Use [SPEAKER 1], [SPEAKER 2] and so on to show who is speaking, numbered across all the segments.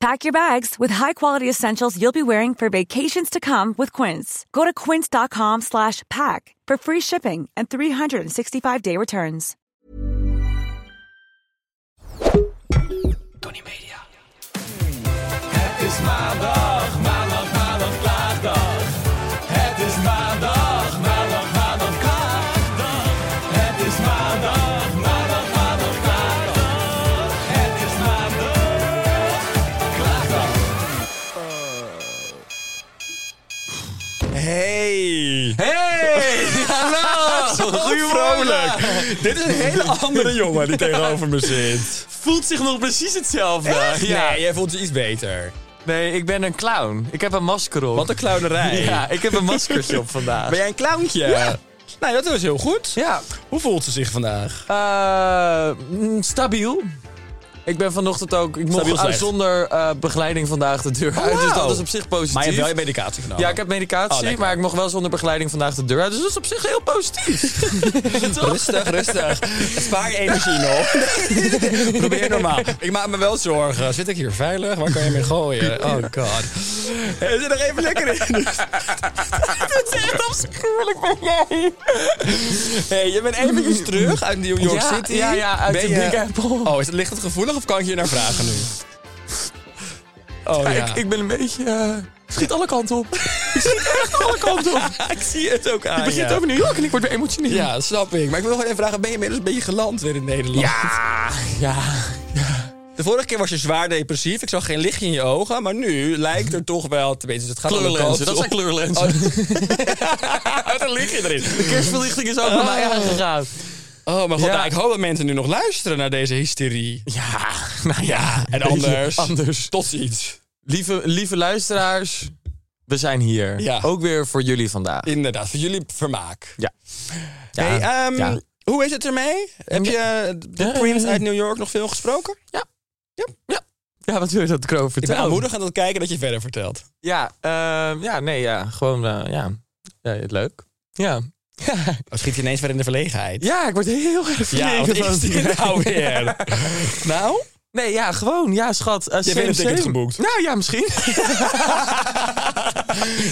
[SPEAKER 1] Pack your bags with high-quality essentials you'll be wearing for vacations to come with Quince. Go to quince.com slash pack for free shipping and 365-day returns.
[SPEAKER 2] Tony Media. Het is maandag, maandag, maandag, klaagdag. Het is maandag, maandag, maandag, klaagdag. Het is maandag, maandag, maandag, klaagdag. Het is maandag, klaagdag.
[SPEAKER 3] Hey!
[SPEAKER 2] Hey, hallo.
[SPEAKER 3] Vrolijk! Dit is een hele andere jongen die tegenover me zit.
[SPEAKER 2] Voelt zich nog precies hetzelfde. Ja.
[SPEAKER 3] Nee, jij voelt je iets beter.
[SPEAKER 2] Nee, ik ben een clown. Ik heb een masker op.
[SPEAKER 3] Wat een clownerij.
[SPEAKER 2] Ja, ik heb een maskertje op vandaag.
[SPEAKER 3] Ben jij een clowntje?
[SPEAKER 2] Ja.
[SPEAKER 3] Nou, dat was heel goed.
[SPEAKER 2] Ja,
[SPEAKER 3] Hoe voelt ze zich vandaag?
[SPEAKER 2] Eh, mm, stabiel. Ik ben vanochtend ook. Ik mocht
[SPEAKER 3] Stabiel slecht.
[SPEAKER 2] uit zonder eh, begeleiding vandaag de deur uit. Dus
[SPEAKER 3] wauw.
[SPEAKER 2] dat is op zich positief.
[SPEAKER 3] Maar je hebt wel je medicatie genomen.
[SPEAKER 2] ja, ik heb
[SPEAKER 3] Oh,
[SPEAKER 2] medicatie,
[SPEAKER 3] lekker.
[SPEAKER 2] maar ik mocht wel zonder begeleiding vandaag de deur uit. Dus dat is op zich heel positief.
[SPEAKER 3] Rustig, rustig. Spaar je energie nog. Probeer normaal. Ik maak me wel zorgen. Zit ik hier veilig? Waar kan je mee gooien? Oh god. Hey, zit er even lekker in.
[SPEAKER 2] Het is echt afschuwelijk ben jij.
[SPEAKER 3] Hey, je bent eventjes terug uit New York
[SPEAKER 2] Ja,
[SPEAKER 3] City.
[SPEAKER 2] ja, ja, uit
[SPEAKER 3] Ben
[SPEAKER 2] de
[SPEAKER 3] je-
[SPEAKER 2] Big Apple.
[SPEAKER 3] Oh, is het, ligt het gevoelig of kan ik je naar vragen nu? Oh ja.
[SPEAKER 2] Ja, Ik, ik ben een beetje. eh, ik schiet alle kanten op. ik schiet echt alle kanten op.
[SPEAKER 3] ik zie het ook aan
[SPEAKER 2] Ik begin
[SPEAKER 3] je.
[SPEAKER 2] het over New York en ik word weer emotioneel.
[SPEAKER 3] Ja, dat snap ik. Maar ik wil nog even vragen, ben je inmiddels een beetje geland weer in Nederland?
[SPEAKER 2] ja. ja.
[SPEAKER 3] De vorige keer was je zwaar depressief. Ik zag geen lichtje in je ogen. Maar nu lijkt er toch wel... Tenminste, het gaat alle kanten
[SPEAKER 2] Kleurlenzen, dat
[SPEAKER 3] op.
[SPEAKER 2] zijn kleurlenzen.
[SPEAKER 3] Wat een lichtje erin.
[SPEAKER 2] Oh, De kerstverlichting is ook bij mij aangegaan.
[SPEAKER 3] Oh, mijn god.
[SPEAKER 2] Ja.
[SPEAKER 3] nou, ik hoop dat mensen nu nog luisteren naar deze hysterie.
[SPEAKER 2] Ja, nou ja.
[SPEAKER 3] En anders...
[SPEAKER 2] Anders.
[SPEAKER 3] Tot ziens.
[SPEAKER 2] Lieve, lieve luisteraars, we zijn hier.
[SPEAKER 3] Ja.
[SPEAKER 2] Ook weer voor jullie vandaag.
[SPEAKER 3] Inderdaad, voor jullie vermaak.
[SPEAKER 2] Ja.
[SPEAKER 3] Hey,
[SPEAKER 2] Ja,
[SPEAKER 3] ehm,
[SPEAKER 2] ja.
[SPEAKER 3] Hoe is het ermee? Heb je eh, de
[SPEAKER 2] Ja.
[SPEAKER 3] Prince uit New York nog veel gesproken?
[SPEAKER 2] Ja, wat wil je dat Kroon
[SPEAKER 3] Ik ben
[SPEAKER 2] vertellen?
[SPEAKER 3] aanmoedigend aan het kijken dat je verder vertelt.
[SPEAKER 2] Ja, ehm, ja, nee, ja. Gewoon, eh, ja. ja. het Leuk. Ja.
[SPEAKER 3] Oh, schiet je ineens weer in de verlegenheid.
[SPEAKER 2] ja, ik word heel erg
[SPEAKER 3] Ja, wat
[SPEAKER 2] verlegen
[SPEAKER 3] is
[SPEAKER 2] van-
[SPEAKER 3] dit nou weer? nou?
[SPEAKER 2] Nee, ja, gewoon. Ja, schat. eh,
[SPEAKER 3] Je bent een
[SPEAKER 2] same,
[SPEAKER 3] ticket
[SPEAKER 2] same.
[SPEAKER 3] geboekt.
[SPEAKER 2] Nou ja, misschien.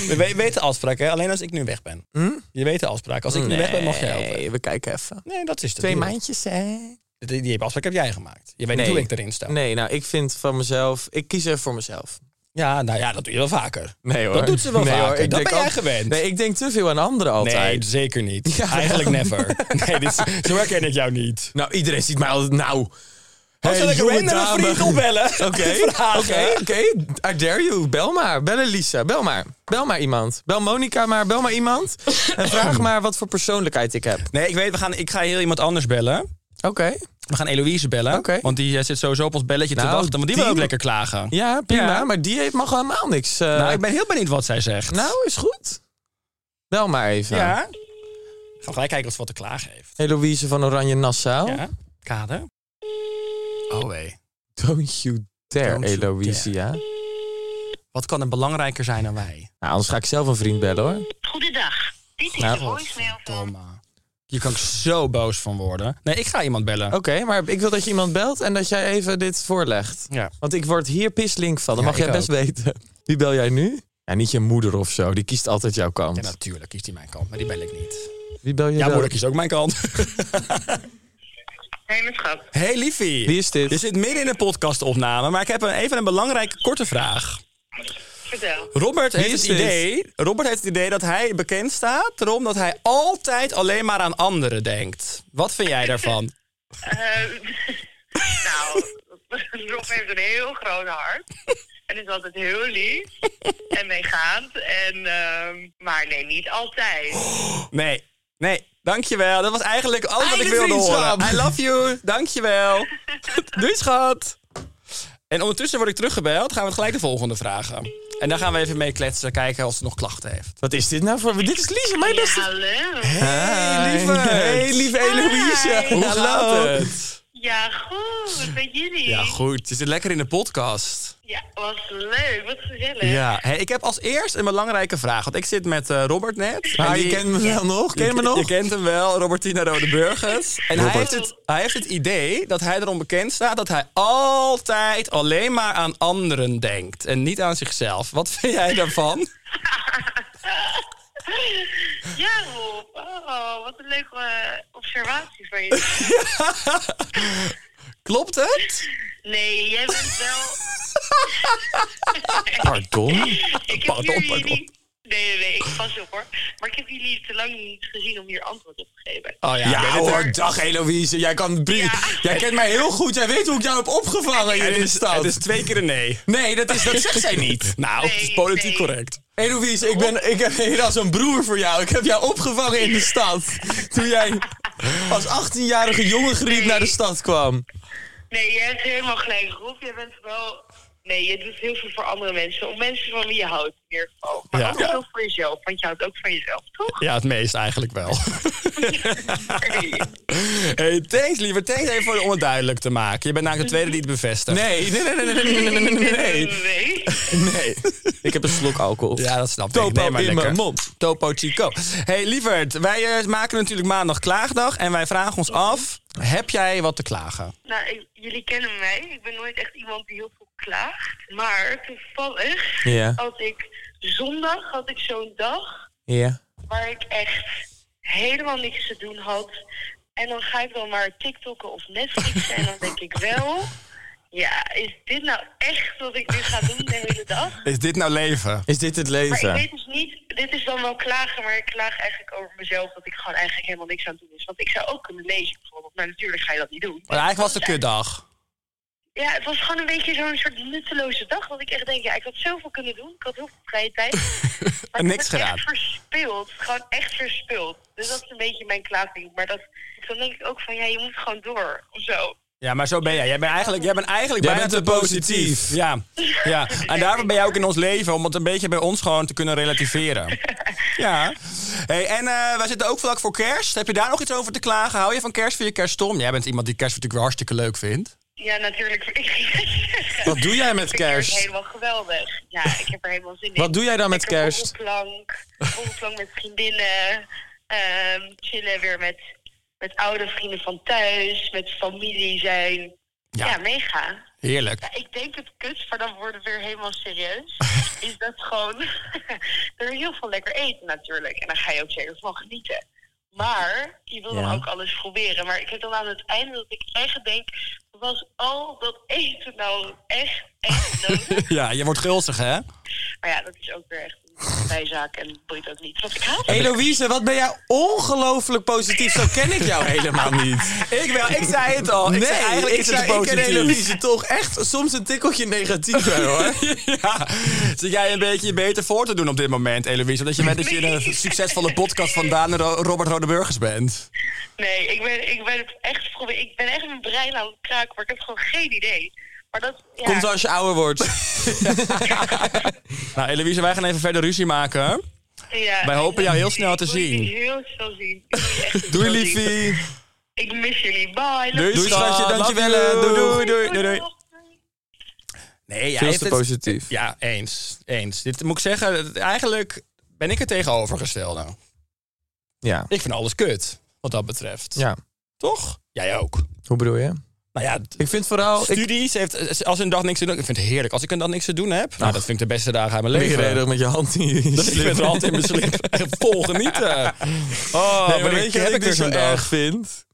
[SPEAKER 3] We we- weten afspraken, hè? alleen als ik nu weg ben. Je weet de afspraak. Als ik nu weg ben, mag jij helpen.
[SPEAKER 2] Hm? Nee, we kijken even.
[SPEAKER 3] Nee, dat is het.
[SPEAKER 2] Twee maandjes, hè?
[SPEAKER 3] Die, die afspraak heb jij gemaakt. Je weet niet hoe ik erin sta.
[SPEAKER 2] Nee, nou, ik vind van mezelf... Ik kies even voor mezelf.
[SPEAKER 3] Ja, nou ja, dat doe je wel vaker.
[SPEAKER 2] Nee hoor.
[SPEAKER 3] Dat doet ze wel
[SPEAKER 2] nee,
[SPEAKER 3] vaker.
[SPEAKER 2] Hoor.
[SPEAKER 3] Dat
[SPEAKER 2] Ik denk
[SPEAKER 3] ben jij
[SPEAKER 2] al-
[SPEAKER 3] gewend.
[SPEAKER 2] Nee, ik denk te veel aan anderen
[SPEAKER 3] Nee,
[SPEAKER 2] altijd.
[SPEAKER 3] zeker niet.
[SPEAKER 2] Ja.
[SPEAKER 3] Eigenlijk never. Nee, dit is, zo herken ik jou niet.
[SPEAKER 2] Nou, iedereen ziet mij altijd... Nou...
[SPEAKER 3] Hey, zal ik een
[SPEAKER 2] jonge
[SPEAKER 3] random
[SPEAKER 2] dame.
[SPEAKER 3] vriend opbellen?
[SPEAKER 2] Oké,
[SPEAKER 3] Vragen.
[SPEAKER 2] oké, oké. I dare you. Bel maar. Bel Elisa. Bel maar. Bel maar iemand. Bel Monica maar. Bel maar iemand. En vraag maar wat voor persoonlijkheid ik heb.
[SPEAKER 3] Nee, ik weet, we gaan, ik ga heel iemand anders bellen.
[SPEAKER 2] Oké.
[SPEAKER 3] We gaan Eloïse bellen.
[SPEAKER 2] Oké.
[SPEAKER 3] Want die eh, zit sowieso op ons belletje te
[SPEAKER 2] Nou,
[SPEAKER 3] wachten. Want die wil
[SPEAKER 2] die-
[SPEAKER 3] ook lekker klagen.
[SPEAKER 2] Ja, prima.
[SPEAKER 3] Ja.
[SPEAKER 2] Maar die heeft, mag helemaal niks. eh,
[SPEAKER 3] Nou, ik ben heel benieuwd wat zij zegt.
[SPEAKER 2] nou, is goed. Bel maar even.
[SPEAKER 3] ja. Gaan we gelijk kijken of ze wat te klagen heeft.
[SPEAKER 2] Heloïse van Oranje Nassau.
[SPEAKER 3] Ja. Kader. Oh, wee.
[SPEAKER 2] Don't you dare,
[SPEAKER 3] Don't you
[SPEAKER 2] Eloïse. Ja. Nou,
[SPEAKER 3] Wat kan er belangrijker zijn dan wij?
[SPEAKER 2] anders ga ik zelf een vriend bellen hoor.
[SPEAKER 4] Goedendag. Dit is
[SPEAKER 2] Nou,
[SPEAKER 4] de voicemail van...
[SPEAKER 3] Toma. Hier kan ik zo boos van worden. Nee, ik ga iemand bellen.
[SPEAKER 2] Oké, maar ik wil dat je iemand belt en dat jij even dit voorlegt.
[SPEAKER 3] Ja.
[SPEAKER 2] Want ik word hier pislink van, dat
[SPEAKER 3] Ja,
[SPEAKER 2] mag jij
[SPEAKER 3] ik
[SPEAKER 2] best weten. Wie bel jij nu? Ja, niet je moeder of zo, die kiest altijd jouw kant.
[SPEAKER 3] Ja, natuurlijk kiest hij mijn kant, maar die bel ik niet.
[SPEAKER 2] Wie bel je
[SPEAKER 3] Ja,
[SPEAKER 2] dan?
[SPEAKER 3] moeder kiest ook mijn kant.
[SPEAKER 4] Hey, mijn schat.
[SPEAKER 3] hey, liefie.
[SPEAKER 2] Wie is dit?
[SPEAKER 3] Je zit midden in een podcastopname, maar ik heb een- even een belangrijke korte vraag.
[SPEAKER 4] vertel.
[SPEAKER 3] Robert heeft,
[SPEAKER 2] Wie
[SPEAKER 3] het
[SPEAKER 2] is dit?
[SPEAKER 3] idee, Robert heeft het idee dat hij bekend staat erom dat hij altijd alleen maar aan anderen denkt. Wat vind jij daarvan?
[SPEAKER 4] Eh, nou, Rob heeft een heel groot hart. En is altijd heel lief en meegaand. En, ehm, maar nee, niet altijd.
[SPEAKER 3] Oh, Nee, nee, dankjewel. Dat was eigenlijk alles wat ik
[SPEAKER 2] Einde
[SPEAKER 3] wilde horen.
[SPEAKER 2] vriendschap.
[SPEAKER 3] I love you, dankjewel. Doei schat. En ondertussen word ik teruggebeld, gaan we gelijk de volgende vragen. En daar gaan we even mee kletsen, kijken of ze nog klachten heeft.
[SPEAKER 2] Wat is dit nou voor... Dit is Lisa, mijn
[SPEAKER 4] Ja,
[SPEAKER 2] beste...
[SPEAKER 4] hallo.
[SPEAKER 2] Hey, lieve. Hey, lieve Eloïse.
[SPEAKER 4] Hi.
[SPEAKER 3] Hoe
[SPEAKER 2] Hallo.
[SPEAKER 3] gaat het?
[SPEAKER 4] Ja, goed. Met jullie?
[SPEAKER 3] Ja, goed. Je zit lekker in de podcast.
[SPEAKER 4] Ja, was leuk. Wat gezellig.
[SPEAKER 3] Ja, hey, ik heb als eerst een belangrijke vraag. Want ik zit met eh, Robert net.
[SPEAKER 2] Ah,
[SPEAKER 3] En
[SPEAKER 2] je
[SPEAKER 3] die-
[SPEAKER 2] kent me wel nog? Ken je me nog?
[SPEAKER 3] Je kent hem wel, Robertina Rodeburgers. En hij
[SPEAKER 2] Robert.
[SPEAKER 3] heeft, het, hij heeft het idee dat hij erom bekend staat dat hij altijd alleen maar aan anderen denkt en niet aan zichzelf. Wat vind jij daarvan?
[SPEAKER 4] Ja, Rob. Oh, wat een leuke eh, observatie van je.
[SPEAKER 3] Klopt het?
[SPEAKER 4] Nee, jij bent wel...
[SPEAKER 2] Pardon?
[SPEAKER 4] Ik heb
[SPEAKER 3] Pardon,
[SPEAKER 4] jullie
[SPEAKER 3] pardon.
[SPEAKER 4] niet... Nee, nee, nee, ik pas op hoor. Maar ik heb jullie te lang niet gezien om hier antwoord op te geven.
[SPEAKER 3] Oh ja,
[SPEAKER 2] Ja
[SPEAKER 3] ben het er?
[SPEAKER 2] hoor, dag Eloïse. Jij, kan drie...
[SPEAKER 4] Ja.
[SPEAKER 2] jij kent mij heel goed. Jij weet hoe ik jou heb opgevangen hier
[SPEAKER 3] Het
[SPEAKER 2] in de
[SPEAKER 3] is,
[SPEAKER 2] stad.
[SPEAKER 3] het is twee keer een nee.
[SPEAKER 2] Nee, dat, is, dat zegt zij niet.
[SPEAKER 3] Nou, het is
[SPEAKER 4] Nee,
[SPEAKER 3] politiek
[SPEAKER 4] nee.
[SPEAKER 3] correct.
[SPEAKER 2] Eloïse, ik, ben, ik heb helaas een broer voor jou. Ik heb jou opgevangen in de stad. Toen jij als 18-jarige jongen geriet naar de stad kwam.
[SPEAKER 4] Nee, jij hebt helemaal gelijk, Rob. Jij bent wel... Nee, je doet heel veel voor andere mensen. Om mensen van wie je houdt, in ieder geval. Maar
[SPEAKER 3] Ja.
[SPEAKER 4] ook veel voor jezelf, want je houdt ook van jezelf, toch?
[SPEAKER 3] Ja, het meest eigenlijk wel.
[SPEAKER 4] Nee.
[SPEAKER 3] Hey, thanks liever, thanks even voor- om het duidelijk te maken. Je bent namelijk de tweede die het bevestigt.
[SPEAKER 2] Nee, nee, nee, nee, nee, nee, nee, nee, nee, nee.
[SPEAKER 4] Nee.
[SPEAKER 3] nee.
[SPEAKER 2] Ik heb een slok alcohol.
[SPEAKER 3] Ja, dat snap ik.
[SPEAKER 2] Topo
[SPEAKER 3] Nee, maar
[SPEAKER 2] in
[SPEAKER 3] lekker.
[SPEAKER 2] mijn mond.
[SPEAKER 3] Topo Chico. hey, lieverd, wij eh, maken natuurlijk maandag klaagdag en wij vragen ons af, heb jij wat te klagen?
[SPEAKER 4] Nou, ik- jullie kennen mij. Ik ben nooit echt iemand die heel veel klaagt. Maar toevallig
[SPEAKER 2] Ja.
[SPEAKER 4] had ik zondag had ik zo'n dag
[SPEAKER 2] Ja.
[SPEAKER 4] waar ik echt helemaal niks te doen had. En dan ga ik dan maar TikTokken of Netflixen en dan denk ik wel... Ja, is dit nou echt wat ik nu ga doen de hele dag?
[SPEAKER 3] Is dit nou leven?
[SPEAKER 2] Is dit het
[SPEAKER 4] Maar ik
[SPEAKER 2] leven?
[SPEAKER 4] weet dus niet, dit is dan wel klagen, maar ik klaag eigenlijk over mezelf dat ik gewoon eigenlijk helemaal niks aan het doen is. Want ik zou ook kunnen lezen bijvoorbeeld, maar natuurlijk ga je dat niet doen.
[SPEAKER 3] Maar eigenlijk was het een kutdag.
[SPEAKER 4] Ja, het was gewoon een beetje zo'n soort nutteloze dag. Dat ik echt denk, ja, ik had zoveel kunnen doen. Ik had heel veel vrije tijd. Maar
[SPEAKER 3] En niks
[SPEAKER 4] ik heb het
[SPEAKER 3] gedaan.
[SPEAKER 4] echt verspild. Gewoon echt verspild. Dus dat is een beetje mijn klaagding. Maar dat, dan denk ik ook van, ja, je moet gewoon door. Of zo.
[SPEAKER 3] Ja, maar zo ben jij. Jij bent eigenlijk, jij bent eigenlijk
[SPEAKER 2] Jij
[SPEAKER 3] bijna
[SPEAKER 2] bent
[SPEAKER 3] te
[SPEAKER 2] te
[SPEAKER 3] positief.
[SPEAKER 2] positief.
[SPEAKER 3] Ja. ja, en daarom ben jij ook in ons leven, om het een beetje bij ons gewoon te kunnen relativeren. Ja. Hey, en eh, wij zitten ook vlak voor kerst. Heb je daar nog iets over te klagen? Hou je van kerst? Vind je kerst stom? Jij bent iemand die kerst natuurlijk weer hartstikke leuk vindt.
[SPEAKER 4] Ja, natuurlijk. Ik ging net zeggen.
[SPEAKER 2] Wat doe jij met
[SPEAKER 4] Ik vind
[SPEAKER 2] kerst?
[SPEAKER 4] helemaal geweldig. Ja, ik heb er helemaal zin in.
[SPEAKER 2] Wat doe jij dan met
[SPEAKER 4] Lekker
[SPEAKER 2] kerst?
[SPEAKER 4] borrelplank, borrelplank met vriendinnen. ehm, chillen weer met, met oude vrienden van thuis. Met familie zijn.
[SPEAKER 3] Ja.
[SPEAKER 4] ja mega.
[SPEAKER 3] Heerlijk.
[SPEAKER 4] Ik denk het kut, maar dan worden we weer helemaal serieus. Is dat gewoon. er is heel veel lekker eten natuurlijk. En daar ga je ook zeker van genieten. Maar je wil
[SPEAKER 2] Ja.
[SPEAKER 4] dan ook alles proberen. Maar ik heb dan aan het einde dat ik echt denk. Was al dat eten nou echt, echt nodig?
[SPEAKER 3] Ja, je wordt gulzig, hè?
[SPEAKER 4] maar ja, dat is ook weer echt een bijzaak. En dat boeit ook niet. Want ik haat het.
[SPEAKER 2] Eloïse, wat ben jij ongelooflijk positief. Zo ken ik jou helemaal niet.
[SPEAKER 3] Ik wel, ik zei het al. Ik
[SPEAKER 2] nee,
[SPEAKER 3] zei eigenlijk
[SPEAKER 2] ik,
[SPEAKER 3] is het
[SPEAKER 2] zei, ik ken
[SPEAKER 3] positief.
[SPEAKER 2] Eloïse toch echt soms een tikkeltje negatief hè, hoor.
[SPEAKER 3] Ja, zit jij een beetje je beter voor te doen op dit moment, Eloïse? Omdat je weet dat je in een succesvolle podcast van Daan en Ro- Robert Rodeburgers bent.
[SPEAKER 4] Nee, ik ben, ik ben het echt. probe- Ik ben echt mijn brein aan het kraken. Maar ik heb gewoon geen idee. Maar dat. Ja,
[SPEAKER 2] Komt als je ouder wordt.
[SPEAKER 3] Nou, Eloïse, wij gaan even verder ruzie maken.
[SPEAKER 4] ja,
[SPEAKER 3] wij hopen jou heel snel te
[SPEAKER 4] Ik wil jullie
[SPEAKER 3] zien.
[SPEAKER 4] Heel snel zien. Ik wil jullie echt heel
[SPEAKER 2] Doei
[SPEAKER 4] snel zien.
[SPEAKER 2] liefie.
[SPEAKER 4] Ik mis jullie. Bye.
[SPEAKER 3] Doei,
[SPEAKER 2] Doei schatje,
[SPEAKER 3] Love
[SPEAKER 2] dankjewel.
[SPEAKER 3] you.
[SPEAKER 2] Doei doei doei.
[SPEAKER 3] doei, doei. Nee, ja,
[SPEAKER 2] Veel
[SPEAKER 3] heeft
[SPEAKER 2] te
[SPEAKER 3] het-
[SPEAKER 2] positief.
[SPEAKER 3] Ja, eens. Eens. Dit moet ik zeggen, het- eigenlijk ben ik het tegenovergestelde.
[SPEAKER 2] Ja.
[SPEAKER 3] Ik vind alles kut, wat dat betreft.
[SPEAKER 2] ja.
[SPEAKER 3] Toch? Jij ook.
[SPEAKER 2] Hoe bedoel je?
[SPEAKER 3] Nou ja,
[SPEAKER 2] Ik vind vooral... Ik
[SPEAKER 3] studies heeft, als een dag niks te doen, ik vind het heerlijk. Als ik een dag niks te doen heb, nou, dat vind ik de beste dagen uit mijn
[SPEAKER 2] ben
[SPEAKER 3] leven.
[SPEAKER 2] gereden met je hand in je
[SPEAKER 3] Dus ik
[SPEAKER 2] slip.
[SPEAKER 3] ben er altijd in mijn slip echt vol genieten. Oh,
[SPEAKER 2] Nee,
[SPEAKER 3] maar
[SPEAKER 2] maar weet je wat ik dus zo erg vind?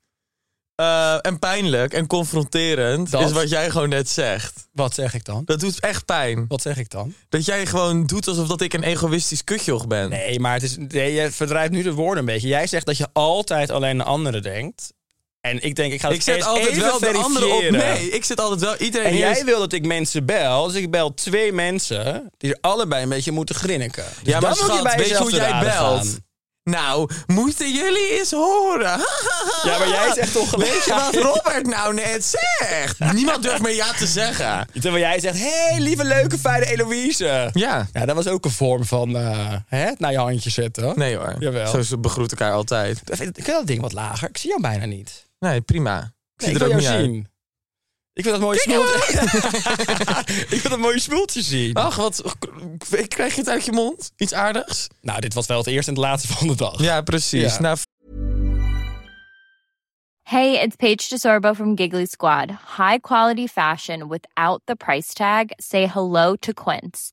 [SPEAKER 2] eh, en pijnlijk en confronterend
[SPEAKER 3] Dat?
[SPEAKER 2] is wat jij gewoon net zegt.
[SPEAKER 3] Wat zeg ik dan?
[SPEAKER 2] Dat doet echt pijn.
[SPEAKER 3] Wat zeg ik dan?
[SPEAKER 2] Dat jij gewoon doet alsof dat ik een egoïstisch kutjoch ben.
[SPEAKER 3] Nee, maar het is, nee, je verdrijft nu de woorden een beetje. Jij zegt dat je altijd alleen aan anderen denkt. En ik denk, ik ga het
[SPEAKER 2] Ik zet
[SPEAKER 3] eens
[SPEAKER 2] altijd
[SPEAKER 3] even
[SPEAKER 2] wel de anderen op.
[SPEAKER 3] verifiëren.
[SPEAKER 2] Nee, ik zet altijd wel iedereen
[SPEAKER 3] En
[SPEAKER 2] eerst-
[SPEAKER 3] jij wil dat ik mensen bel, dus ik bel twee mensen die er allebei een beetje moeten grinniken. Dus
[SPEAKER 2] Ja, maar
[SPEAKER 3] dan moet je
[SPEAKER 2] schat,
[SPEAKER 3] bij
[SPEAKER 2] weet je
[SPEAKER 3] jezelf
[SPEAKER 2] hoe
[SPEAKER 3] te
[SPEAKER 2] jij
[SPEAKER 3] raden
[SPEAKER 2] belt?
[SPEAKER 3] gaan.
[SPEAKER 2] Nou, moeten jullie eens horen.
[SPEAKER 3] Ja, maar jij zegt ongelijk.
[SPEAKER 2] Weet je wat Robert nou net zegt? Niemand durft meer ja te zeggen.
[SPEAKER 3] Terwijl jij zegt, hé, hey, lieve, leuke, fijne Eloïse.
[SPEAKER 2] Ja.
[SPEAKER 3] Ja, dat was ook een vorm van eh, hè, het naar je handje zetten.
[SPEAKER 2] Nee hoor.
[SPEAKER 3] Jawel.
[SPEAKER 2] Zo ze begroet elkaar altijd.
[SPEAKER 3] Ik wil dat ding wat lager. Ik zie jou bijna niet.
[SPEAKER 2] Nee, prima. Ik
[SPEAKER 3] Nee,
[SPEAKER 2] zie
[SPEAKER 3] ik
[SPEAKER 2] er
[SPEAKER 3] wil
[SPEAKER 2] ook
[SPEAKER 3] jou
[SPEAKER 2] niet uit.
[SPEAKER 3] zien. Ik wil dat mooie smoeltje. ik wil dat mooie smoeltje zien.
[SPEAKER 2] Ach, wat. Ik krijg je het uit je mond? Iets aardigs?
[SPEAKER 3] Nou, dit was wel het eerste en het laatste van de dag.
[SPEAKER 2] Ja, precies.
[SPEAKER 3] Ja.
[SPEAKER 2] Nou,
[SPEAKER 5] Hey, it's Paige DeSorbo from Giggly Squad. High quality fashion without the price tag. Say hello to Quince.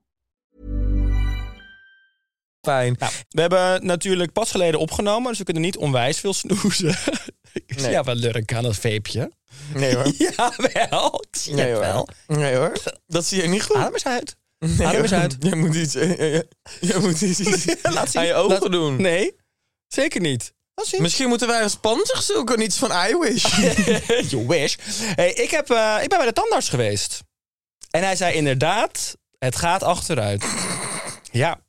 [SPEAKER 2] fijn.
[SPEAKER 3] Nou, we hebben natuurlijk pas geleden opgenomen, dus we kunnen niet onwijs veel snoezen. Ik zie
[SPEAKER 2] Nee.
[SPEAKER 3] jou wel lurken aan dat veepje.
[SPEAKER 2] Nee hoor.
[SPEAKER 3] Jawel, ik zie
[SPEAKER 2] Nee
[SPEAKER 3] het
[SPEAKER 2] hoor.
[SPEAKER 3] wel. Ah,
[SPEAKER 2] Nee hoor. Dat zie je niet goed.
[SPEAKER 3] Adem eens uit.
[SPEAKER 2] Nee,
[SPEAKER 3] Adem eens
[SPEAKER 2] hoor.
[SPEAKER 3] uit.
[SPEAKER 2] Jij moet iets, eh, jij moet iets, iets
[SPEAKER 3] Laat zien.
[SPEAKER 2] aan je ogen
[SPEAKER 3] Laat-
[SPEAKER 2] doen.
[SPEAKER 3] Nee, zeker niet. Laat zien.
[SPEAKER 2] Misschien moeten wij een sponsor zoeken en iets van iWish.
[SPEAKER 3] you wish. Hey, ik, heb, eh, ik ben bij de tandarts geweest. En hij zei inderdaad, het gaat achteruit. ja.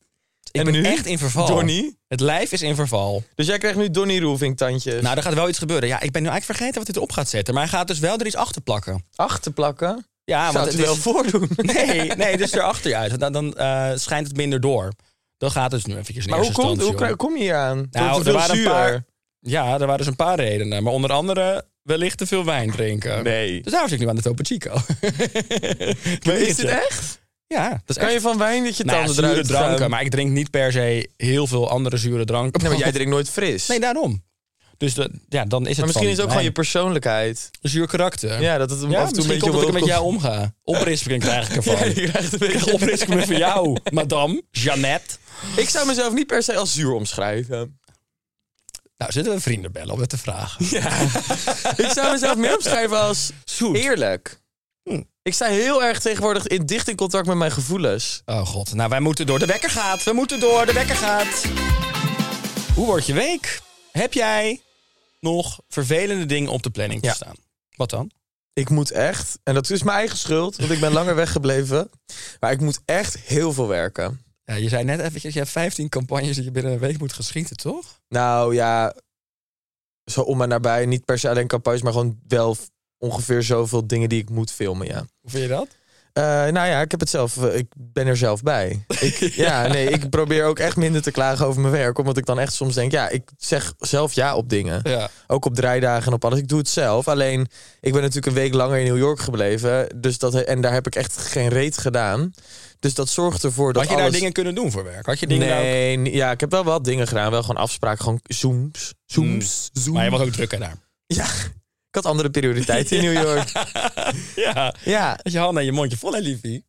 [SPEAKER 3] Ik
[SPEAKER 2] En
[SPEAKER 3] ben
[SPEAKER 2] nu?
[SPEAKER 3] echt in verval.
[SPEAKER 2] Donnie?
[SPEAKER 3] Het lijf is in verval.
[SPEAKER 2] Dus jij krijgt nu Donny Roofing tandjes.
[SPEAKER 3] Nou, er gaat wel iets gebeuren. Ja, ik ben nu eigenlijk vergeten wat hij erop gaat zetten. Maar hij gaat dus wel er iets achter plakken.
[SPEAKER 2] achter plakken.
[SPEAKER 3] Ja,
[SPEAKER 2] Zou het wel
[SPEAKER 3] voordoen. Nee, nee, dus erachter je uit. Want Dan, dan eh, schijnt het minder door. Dat gaat dus nu eventjes in
[SPEAKER 2] Maar hoe,
[SPEAKER 3] eerste
[SPEAKER 2] komt, hoe
[SPEAKER 3] instantie
[SPEAKER 2] kri-
[SPEAKER 3] om.
[SPEAKER 2] kom je hier aan?
[SPEAKER 3] Nou,
[SPEAKER 2] te veel
[SPEAKER 3] er waren een
[SPEAKER 2] zuur.
[SPEAKER 3] paar- Ja, er waren dus een paar redenen. Maar onder andere wellicht te veel wijn drinken.
[SPEAKER 2] Nee.
[SPEAKER 3] Dus daar zit ik nu aan de Topo Chico.
[SPEAKER 2] Maar is dit echt?
[SPEAKER 3] Ja, dat is
[SPEAKER 2] Kan je
[SPEAKER 3] echt.
[SPEAKER 2] van wijn dat je
[SPEAKER 3] Nou ja,
[SPEAKER 2] tanden
[SPEAKER 3] zure
[SPEAKER 2] eruit
[SPEAKER 3] dranken,
[SPEAKER 2] gaan?
[SPEAKER 3] maar ik drink niet per se heel veel andere zure dranken.
[SPEAKER 2] Nee, nou, maar jij drinkt nooit fris.
[SPEAKER 3] Nee, daarom. Dus dat- ja, dan is het
[SPEAKER 2] maar misschien is
[SPEAKER 3] van
[SPEAKER 2] het ook gewoon je
[SPEAKER 3] mijn
[SPEAKER 2] persoonlijkheid.
[SPEAKER 3] zuur karakter.
[SPEAKER 2] Ja, dat het hem
[SPEAKER 3] Ja,
[SPEAKER 2] af en toe een
[SPEAKER 3] misschien
[SPEAKER 2] beetje
[SPEAKER 3] komt dat ik er met
[SPEAKER 2] omhoog
[SPEAKER 3] jou
[SPEAKER 2] komt.
[SPEAKER 3] omga. Oprisping krijg ik ervan.
[SPEAKER 2] Ja, je krijgt een beetje-
[SPEAKER 3] Oprisping me van jou, madame, Jeannette.
[SPEAKER 2] Ik zou mezelf niet per se als zuur omschrijven.
[SPEAKER 3] Nou, zullen we vrienden bellen om het te vragen?
[SPEAKER 2] Ik zou mezelf meer omschrijven als
[SPEAKER 3] Zoet.
[SPEAKER 2] eerlijk. Ik sta heel erg tegenwoordig in dicht in contact met mijn gevoelens.
[SPEAKER 3] Oh god, nou wij moeten door. De wekker gaat, we moeten door, de wekker gaat. Hoe wordt je week? Heb jij nog vervelende dingen op de planning te
[SPEAKER 2] Ja.
[SPEAKER 3] staan? Wat dan?
[SPEAKER 2] Ik moet echt, en dat is mijn eigen schuld, want ik ben langer weggebleven. Maar ik moet echt heel veel werken.
[SPEAKER 3] Ja, je zei net eventjes, je hebt 15 campagnes die je binnen een week moet geschieten, toch?
[SPEAKER 2] Nou ja, zo om en nabij. Niet per se alleen campagnes, maar gewoon wel ongeveer zoveel dingen die ik moet filmen, ja.
[SPEAKER 3] Hoe vind je dat?
[SPEAKER 2] Eh, nou ja, ik heb het zelf. eh, ik ben er zelf bij. Ik, ja. nee, ik probeer ook echt minder te klagen over mijn werk. Omdat ik dan echt soms denk, ja, ik zeg zelf ja op dingen.
[SPEAKER 3] Ja.
[SPEAKER 2] Ook op draaidagen en op alles. Ik doe het zelf. Alleen, ik ben natuurlijk een week langer in New York gebleven. Dus dat, en daar heb ik echt geen reet gedaan. Dus dat zorgt ervoor dat
[SPEAKER 3] Had je daar
[SPEAKER 2] alles...
[SPEAKER 3] dingen kunnen doen voor werk? Had je dingen nou- daar ook-
[SPEAKER 2] Nee, ni- ja, ik heb wel wat dingen gedaan. Wel gewoon afspraken, gewoon zooms, zooms, zooms.
[SPEAKER 3] Mm. Maar je was ook druk hè, daar.
[SPEAKER 2] Ja, ik had andere prioriteiten in New York.
[SPEAKER 3] Ja.
[SPEAKER 2] Ja,
[SPEAKER 3] Had je handen en je mondje vol, hè, liefie?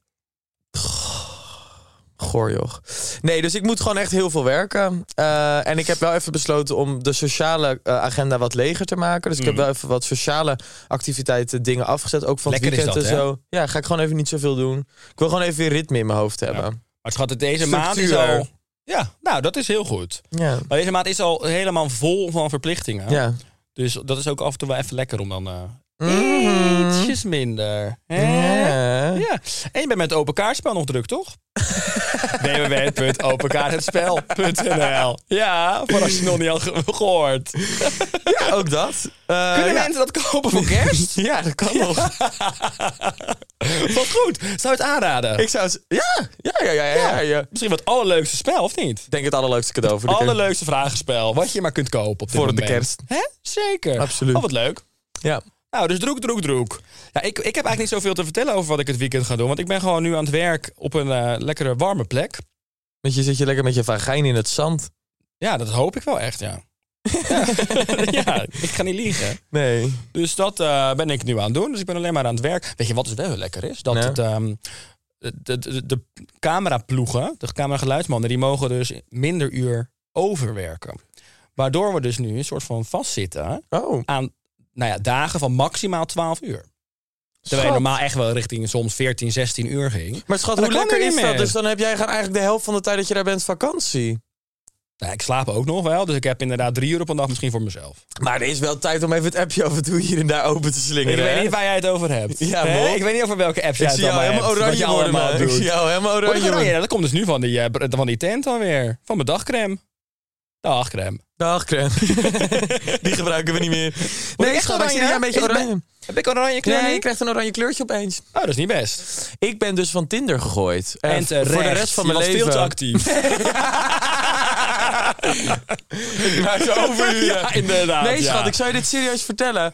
[SPEAKER 2] Goor, joh. Nee, dus ik moet gewoon echt heel veel werken. Eh, en ik heb wel even besloten om de sociale eh, agenda wat leger te maken. Dus ik
[SPEAKER 3] Mhm.
[SPEAKER 2] heb wel even wat sociale activiteiten, dingen afgezet. Ook van het
[SPEAKER 3] Lekker is
[SPEAKER 2] weekend
[SPEAKER 3] dat,
[SPEAKER 2] en
[SPEAKER 3] hè?
[SPEAKER 2] zo. Ja, ga ik gewoon even niet zoveel doen. Ik wil gewoon even weer ritme in mijn hoofd hebben.
[SPEAKER 3] Maar schat, het deze maand is
[SPEAKER 2] Structuur.
[SPEAKER 3] al... Ja, nou, dat is heel goed.
[SPEAKER 2] Ja.
[SPEAKER 3] Maar deze maand is al helemaal vol van verplichtingen.
[SPEAKER 2] Ja. ja.
[SPEAKER 3] Dus dat is ook af en toe wel even lekker om dan... eh
[SPEAKER 2] Mhm.
[SPEAKER 3] Ietsjes minder. Hè? Ja. En je bent met het open kaartspel nog druk, toch? www.openkaartspel.nl Ja, voor als je het nog niet had ge- gehoord.
[SPEAKER 2] Ja, ook dat. Eh,
[SPEAKER 3] Kunnen
[SPEAKER 2] ja.
[SPEAKER 3] mensen dat kopen voor kerst?
[SPEAKER 2] Ja, dat kan nog.
[SPEAKER 3] Wat goed. Zou je het aanraden?
[SPEAKER 2] Ik zou... z- Ja, ja, ja, ja, ja. ja, ja.
[SPEAKER 3] Misschien wat allerleukste spel, of niet?
[SPEAKER 2] Ik denk het allerleukste cadeau voor de kerst.
[SPEAKER 3] Allerleukste vragenspel. Wat je maar kunt kopen op dit
[SPEAKER 2] Voor de
[SPEAKER 3] moment.
[SPEAKER 2] kerst.
[SPEAKER 3] Hè? Zeker.
[SPEAKER 2] Absoluut.
[SPEAKER 3] Oh, wat leuk.
[SPEAKER 2] Ja.
[SPEAKER 3] Nou, dus droek, droek, droek. Ja, ik, ik heb eigenlijk niet zoveel te vertellen over wat ik het weekend ga doen. Want ik ben gewoon nu aan het werk op een eh, lekkere warme plek.
[SPEAKER 2] Want je zit je lekker met je vagijn in het zand.
[SPEAKER 3] Ja, dat hoop ik wel echt, ja. ja, ik ga niet liegen.
[SPEAKER 2] Nee.
[SPEAKER 3] Dus dat eh, ben ik nu aan het doen. Dus ik ben alleen maar aan het werk. Weet je wat dus wel heel lekker is? Dat
[SPEAKER 2] Nou.
[SPEAKER 3] het, ehm, de, de, de cameraploegen, de camerageluidsmannen, die mogen dus minder uur overwerken. Waardoor we dus nu een soort van vastzitten
[SPEAKER 2] Oh.
[SPEAKER 3] aan nou ja, dagen van maximaal 12 uur. Terwijl je
[SPEAKER 2] Schat.
[SPEAKER 3] normaal echt wel richting soms 14, 16 uur ging.
[SPEAKER 2] Maar schat,
[SPEAKER 3] Maar
[SPEAKER 2] hoe
[SPEAKER 3] dat kan
[SPEAKER 2] lekker
[SPEAKER 3] nu
[SPEAKER 2] is
[SPEAKER 3] niet
[SPEAKER 2] dat?
[SPEAKER 3] meer.
[SPEAKER 2] Dus dan heb jij gewoon eigenlijk de helft van de tijd dat je daar bent vakantie.
[SPEAKER 3] Nou, ik slaap ook nog wel, dus ik heb inderdaad drie uur op een dag misschien voor mezelf.
[SPEAKER 2] Maar er is wel tijd om even het appje af en toe hier en daar open te slingeren.
[SPEAKER 3] Ik weet
[SPEAKER 2] hè?
[SPEAKER 3] niet waar jij het over hebt.
[SPEAKER 2] Ja,
[SPEAKER 3] Hè?
[SPEAKER 2] Bob.
[SPEAKER 3] ik weet niet over welke apps jij
[SPEAKER 2] Ik
[SPEAKER 3] het
[SPEAKER 2] zie jou
[SPEAKER 3] allemaal
[SPEAKER 2] helemaal
[SPEAKER 3] hebt, wat je
[SPEAKER 2] oranje worden,
[SPEAKER 3] allemaal
[SPEAKER 2] man. Ik
[SPEAKER 3] doet.
[SPEAKER 2] zie jou helemaal
[SPEAKER 3] Word ik
[SPEAKER 2] oranje
[SPEAKER 3] oranje?
[SPEAKER 2] worden.
[SPEAKER 3] dat komt dus nu van die, eh, br- van die tent alweer. Van mijn dagcreme. Dagcreme.
[SPEAKER 2] Dag, crème. Die gebruiken we niet meer.
[SPEAKER 3] ik
[SPEAKER 2] Nee,
[SPEAKER 3] echt
[SPEAKER 2] schat, maar ik
[SPEAKER 3] oranje?
[SPEAKER 2] zie jou een beetje
[SPEAKER 3] Is het
[SPEAKER 2] oranje.
[SPEAKER 3] Heb ik oranje kleur?
[SPEAKER 2] Nee, je krijgt een oranje kleurtje opeens.
[SPEAKER 3] Oh, dat is niet best.
[SPEAKER 2] Ik ben dus van Tinder gegooid. Eh,
[SPEAKER 3] En terecht.
[SPEAKER 2] Voor de rest van
[SPEAKER 3] Je
[SPEAKER 2] mijn
[SPEAKER 3] was
[SPEAKER 2] leven.
[SPEAKER 3] veel te actief.
[SPEAKER 2] Maar zo overuren.
[SPEAKER 3] Ja, inderdaad,
[SPEAKER 2] Nee, schat,
[SPEAKER 3] ja.
[SPEAKER 2] ik zou je dit serieus vertellen.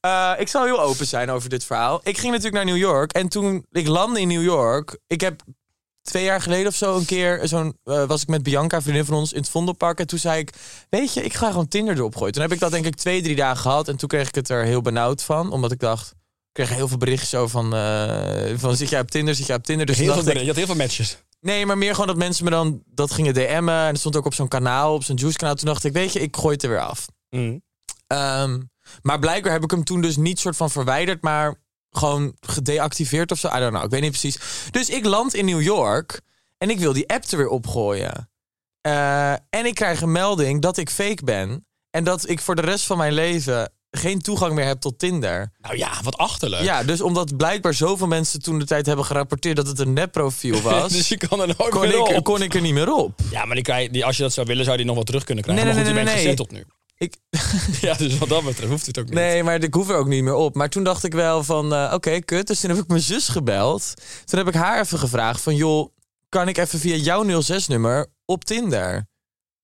[SPEAKER 2] Eh, ik zal heel open zijn over dit verhaal. Ik ging natuurlijk naar New York. En toen ik landde in New York... Ik heb twee jaar geleden of zo een keer... Zo'n, eh, was ik met Bianca, vriendin van ons, in het Vondelpark. En toen zei ik, weet je, ik ga gewoon Tinder erop gooien. Toen heb ik dat denk ik twee, drie dagen gehad. En toen kreeg ik het er heel benauwd van. Omdat ik dacht... Ik kreeg heel veel berichten zo van, eh, van... Zit jij op Tinder? Zit jij op Tinder? Dus toen
[SPEAKER 3] Heel veel,
[SPEAKER 2] dacht
[SPEAKER 3] dingen.
[SPEAKER 2] ik,
[SPEAKER 3] je had heel veel matches.
[SPEAKER 2] Nee, maar meer gewoon dat mensen me dan dat gingen DM'en. En dat stond ook op zo'n kanaal, op zo'n juice kanaal. Toen dacht ik, weet je, ik gooi het er weer af. Ehm, maar blijkbaar heb ik hem toen dus niet soort van verwijderd, maar gewoon gedeactiveerd of zo. I don't know, ik weet niet precies. Dus ik land in New York en ik wil die app er weer opgooien. Eh, en ik krijg een melding dat ik fake ben. En dat ik voor de rest van mijn leven geen toegang meer heb tot Tinder.
[SPEAKER 3] Nou ja, wat achterlijk.
[SPEAKER 2] Ja, dus omdat blijkbaar zoveel mensen toen de tijd hebben gerapporteerd dat het een nepprofiel was.
[SPEAKER 3] dus je kan er nooit
[SPEAKER 2] kon,
[SPEAKER 3] meer
[SPEAKER 2] ik,
[SPEAKER 3] op.
[SPEAKER 2] kon ik er niet meer op.
[SPEAKER 3] Ja, maar die krijg- die, als je dat zou willen, zou je die nog wel terug kunnen krijgen.
[SPEAKER 2] Nee,
[SPEAKER 3] maar
[SPEAKER 2] nee,
[SPEAKER 3] goed, je
[SPEAKER 2] nee,
[SPEAKER 3] bent
[SPEAKER 2] nee, nee.
[SPEAKER 3] gezetteld nu.
[SPEAKER 2] Ik,
[SPEAKER 3] Ja, dus wat dat betreft hoeft het ook niet.
[SPEAKER 2] nee, maar ik hoef er ook niet meer op. Maar toen dacht ik wel van, eh, oké, kut. Dus toen heb ik mijn zus gebeld. Toen heb ik haar even gevraagd van, joh, kan ik even via jouw 06-nummer op Tinder?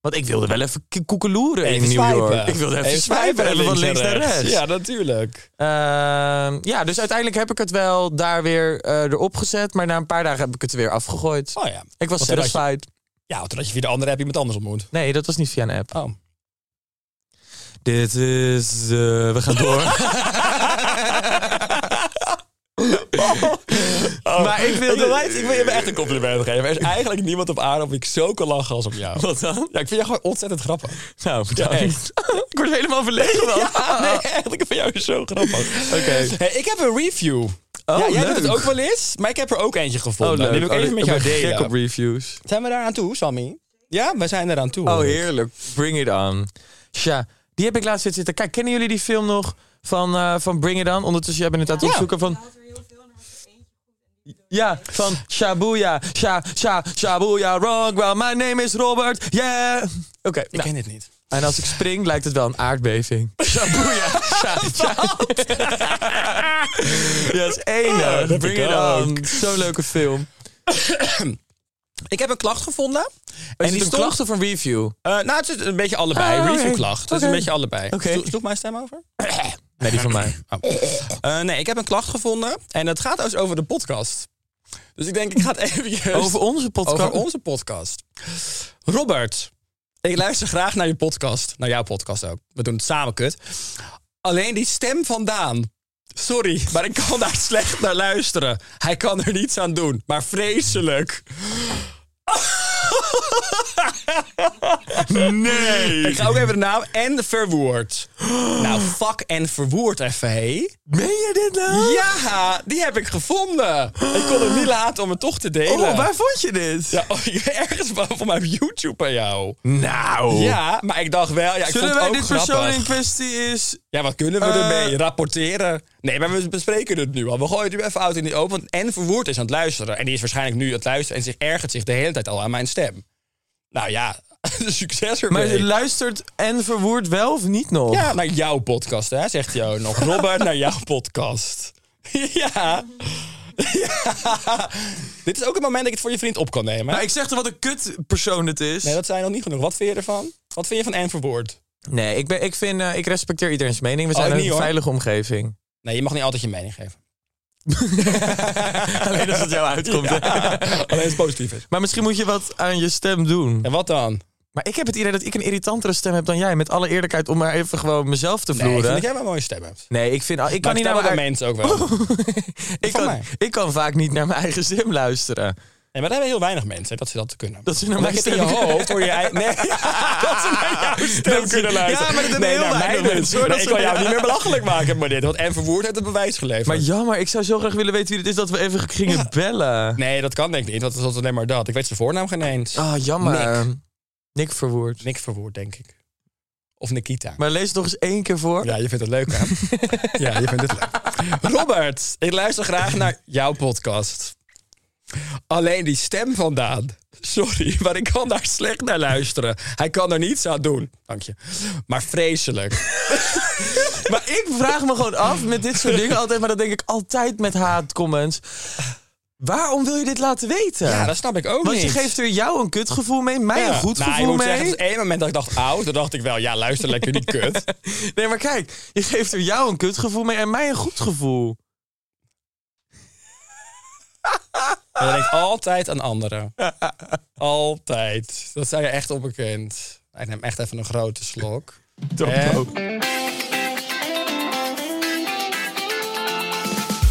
[SPEAKER 2] Want ik wilde wel even k- koekeloeren
[SPEAKER 3] Even
[SPEAKER 2] in New York.
[SPEAKER 3] swipen.
[SPEAKER 2] Ik wilde even, swipen, even van links naar rechts.
[SPEAKER 3] Ja, natuurlijk.
[SPEAKER 2] Ehm, ja, dus uiteindelijk heb ik het wel daar weer eh, erop gezet. Maar na een paar dagen heb ik het er weer afgegooid.
[SPEAKER 3] Oh ja.
[SPEAKER 2] Ik was
[SPEAKER 3] Want toen had je-
[SPEAKER 2] satisfied.
[SPEAKER 3] Ja, want toen had je via de andere app iemand anders ontmoet.
[SPEAKER 2] Nee, dat was niet via een app.
[SPEAKER 3] Oh.
[SPEAKER 2] Dit is... eh, we gaan door. Maar ik wilde-
[SPEAKER 3] Ik wil, ik wil je echt een compliment geven. Er is eigenlijk niemand op aarde op wie ik zo kan lachen als op jou.
[SPEAKER 2] Wat dan?
[SPEAKER 3] Ja, ik vind jou gewoon ontzettend grappig.
[SPEAKER 2] Nou, bedankt.
[SPEAKER 3] echt.
[SPEAKER 2] ik word helemaal verlegen wel.
[SPEAKER 3] Ja, nee, echt. Ik vind jou zo grappig.
[SPEAKER 2] Oké.
[SPEAKER 3] Hey, ik heb een review. ja,
[SPEAKER 2] Oh,
[SPEAKER 3] jij
[SPEAKER 2] leuk.
[SPEAKER 3] doet het ook wel eens, maar ik heb er ook eentje gevonden.
[SPEAKER 2] Oh, leuk.
[SPEAKER 3] Die wil ik
[SPEAKER 2] Oh,
[SPEAKER 3] even met
[SPEAKER 2] ik
[SPEAKER 3] jou
[SPEAKER 2] ben
[SPEAKER 3] delen.
[SPEAKER 2] gek op reviews.
[SPEAKER 3] Zijn we daar aan toe, Sammy? Ja, we zijn eraan toe.
[SPEAKER 2] Oh, heerlijk. Bring It On. Tja, die heb ik laatst weer zitten. Kijk, kennen jullie die film nog van, eh, van Bring It On? Ondertussen, jij bent het aan het opzoeken van... Ja, van Shabuya, Sha, Sha, Shabuya Rockwell. My name is Robert, yeah. Oké,
[SPEAKER 3] Ik
[SPEAKER 2] nou,
[SPEAKER 3] ken dit niet.
[SPEAKER 2] en als ik spring lijkt het wel een aardbeving. Shabuya, Sha, Sha. Ja, Ah, dat is
[SPEAKER 3] Oh, dat
[SPEAKER 2] enig.
[SPEAKER 3] heb
[SPEAKER 2] Bring
[SPEAKER 3] ik
[SPEAKER 2] It
[SPEAKER 3] ook.
[SPEAKER 2] On. Zo'n leuke film.
[SPEAKER 3] Ik heb een klacht gevonden.
[SPEAKER 2] En
[SPEAKER 3] die
[SPEAKER 2] die een
[SPEAKER 3] stond-
[SPEAKER 2] klacht of een review?
[SPEAKER 3] Eh, nou, het is een beetje allebei.
[SPEAKER 2] Ah, oké.
[SPEAKER 3] Reviewklacht. Het is een
[SPEAKER 2] Oké.
[SPEAKER 3] beetje allebei.
[SPEAKER 2] Oké.
[SPEAKER 3] Slo- Sloeg mijn stem over?
[SPEAKER 2] Nee, die van mij.
[SPEAKER 3] Oh. Eh, nee, ik heb een klacht gevonden. En het gaat dus over de podcast. Dus ik denk, ik ga het even
[SPEAKER 2] Over onze podcast.
[SPEAKER 3] over onze podcast. Robert, ik luister graag naar je podcast. Naar jouw podcast ook. We doen het samen, kut. Alleen die stem van Daan. Sorry, maar ik kan daar slecht naar luisteren. Hij kan er niets aan doen, maar vreselijk. Nee. Ik ga ook even de naam en verwoord. Nou, fuck en verwoord even, hé.
[SPEAKER 2] Meen je dit nou?
[SPEAKER 3] Ja, die heb ik gevonden. Ik kon hem niet laten om het toch te delen.
[SPEAKER 2] Oh, waar vond je dit?
[SPEAKER 3] Ja, oh, ergens van, van mijn YouTube bij jou.
[SPEAKER 2] Nou.
[SPEAKER 3] Ja, maar ik dacht wel, ja, ik
[SPEAKER 2] Zullen
[SPEAKER 3] vond het
[SPEAKER 2] wij
[SPEAKER 3] ook
[SPEAKER 2] dit
[SPEAKER 3] grappig.
[SPEAKER 2] persoon in kwestie is...
[SPEAKER 3] Ja, wat kunnen we
[SPEAKER 2] Eh,
[SPEAKER 3] ermee? Rapporteren? Nee, maar we bespreken het nu al. We gooien het nu even uit in die open. Want en Verwoerd is aan het luisteren. En die is waarschijnlijk nu aan het luisteren en zich ergert zich de hele tijd al aan mijn stem. Nou ja, succes
[SPEAKER 2] Maar
[SPEAKER 3] ermee.
[SPEAKER 2] luistert en verwoord wel of niet nog?
[SPEAKER 3] ja, naar jouw podcast, hè, zegt hij ook nog. Robert, naar jouw podcast. ja. ja. Dit is ook het moment dat ik het voor je vriend op kan nemen. hè?
[SPEAKER 2] Nou, ik zeg toch wat een kut persoon het is?
[SPEAKER 3] Nee, dat zijn nog niet genoeg. Wat vind je ervan? Wat vind je van en Verwoord?
[SPEAKER 2] Nee, ik, ben, ik, vind, eh, ik respecteer iedereen's mening. We
[SPEAKER 3] Oh,
[SPEAKER 2] zijn
[SPEAKER 3] ik
[SPEAKER 2] in
[SPEAKER 3] niet,
[SPEAKER 2] een
[SPEAKER 3] hoor.
[SPEAKER 2] veilige omgeving.
[SPEAKER 3] Nee, je mag niet altijd je mening geven.
[SPEAKER 2] Alleen als het jou uitkomt. hè?
[SPEAKER 3] Alleen als het positief is.
[SPEAKER 2] Maar misschien moet je wat aan je stem doen.
[SPEAKER 3] En wat dan?
[SPEAKER 2] Maar ik heb het idee dat ik een irritantere stem heb dan jij. Met alle eerlijkheid, om maar even gewoon mezelf te
[SPEAKER 3] Nee, ik vind
[SPEAKER 2] vloeren.
[SPEAKER 3] dat jij wel een mooie stem hebt.
[SPEAKER 2] Nee, ik vind... al- Ik
[SPEAKER 3] Maar
[SPEAKER 2] kan, niet naar Oh.
[SPEAKER 3] vertel
[SPEAKER 2] mijn,
[SPEAKER 3] dat mensen ook wel.
[SPEAKER 2] ik,
[SPEAKER 3] van
[SPEAKER 2] kan,
[SPEAKER 3] mij.
[SPEAKER 2] ik kan vaak niet naar mijn eigen stem luisteren.
[SPEAKER 3] Nee, maar daar hebben heel weinig mensen hè, dat ze dat kunnen.
[SPEAKER 2] Dat ze naar
[SPEAKER 3] Omdat
[SPEAKER 2] mijn
[SPEAKER 3] je het in je
[SPEAKER 2] stem-
[SPEAKER 3] hoofd voor je eigen... Nee, dat ze naar jouw stem
[SPEAKER 2] Dat ze-
[SPEAKER 3] kunnen luisteren.
[SPEAKER 2] Ja, maar dat hebben
[SPEAKER 3] nee,
[SPEAKER 2] heel
[SPEAKER 3] naar
[SPEAKER 2] weinig
[SPEAKER 3] mijn-
[SPEAKER 2] mensen, hoor,
[SPEAKER 3] Nee,
[SPEAKER 2] dat
[SPEAKER 3] ik
[SPEAKER 2] ze-
[SPEAKER 3] kan jou niet meer belachelijk maken met dit. Want En Verwoerd heeft het bewijs geleverd.
[SPEAKER 2] Maar jammer, ik zou zo graag willen weten wie het is dat we even gingen bellen.
[SPEAKER 3] Nee, dat kan denk ik niet. want Dat is alleen maar dat. Ik weet zijn voornaam geen eens.
[SPEAKER 2] Ah, jammer.
[SPEAKER 3] Nick.
[SPEAKER 2] Nick, Verwoerd.
[SPEAKER 3] Nick Verwoerd, denk ik. Of Nikita.
[SPEAKER 2] Maar lees het nog eens één keer voor.
[SPEAKER 3] Ja, je vindt het leuk, hè? ja, je vindt het leuk. Robert, ik luister graag naar jouw podcast. Alleen die stem vandaan. Sorry, maar ik kan daar slecht naar luisteren. Hij kan er niets aan doen. Dank je. Maar vreselijk.
[SPEAKER 2] Maar ik vraag me gewoon af met dit soort dingen altijd. Maar dat denk ik altijd met haatcomments. Waarom wil je dit laten weten?
[SPEAKER 3] Ja, dat snap ik ook
[SPEAKER 2] Want
[SPEAKER 3] niet.
[SPEAKER 2] je geeft er jou een kutgevoel mee, mij
[SPEAKER 3] Ja.
[SPEAKER 2] een goed
[SPEAKER 3] Nou,
[SPEAKER 2] gevoel
[SPEAKER 3] ik moet
[SPEAKER 2] mee.
[SPEAKER 3] Zeggen, er was één moment dat ik dacht oud. Toen dacht ik wel, ja, luister lekker die kut.
[SPEAKER 2] Nee, maar kijk, je geeft er jou een kutgevoel mee en mij een goed gevoel.
[SPEAKER 3] En je denkt altijd aan anderen. Altijd. Dat zijn je echt onbekend. Ik neem echt even een grote slok. Topo.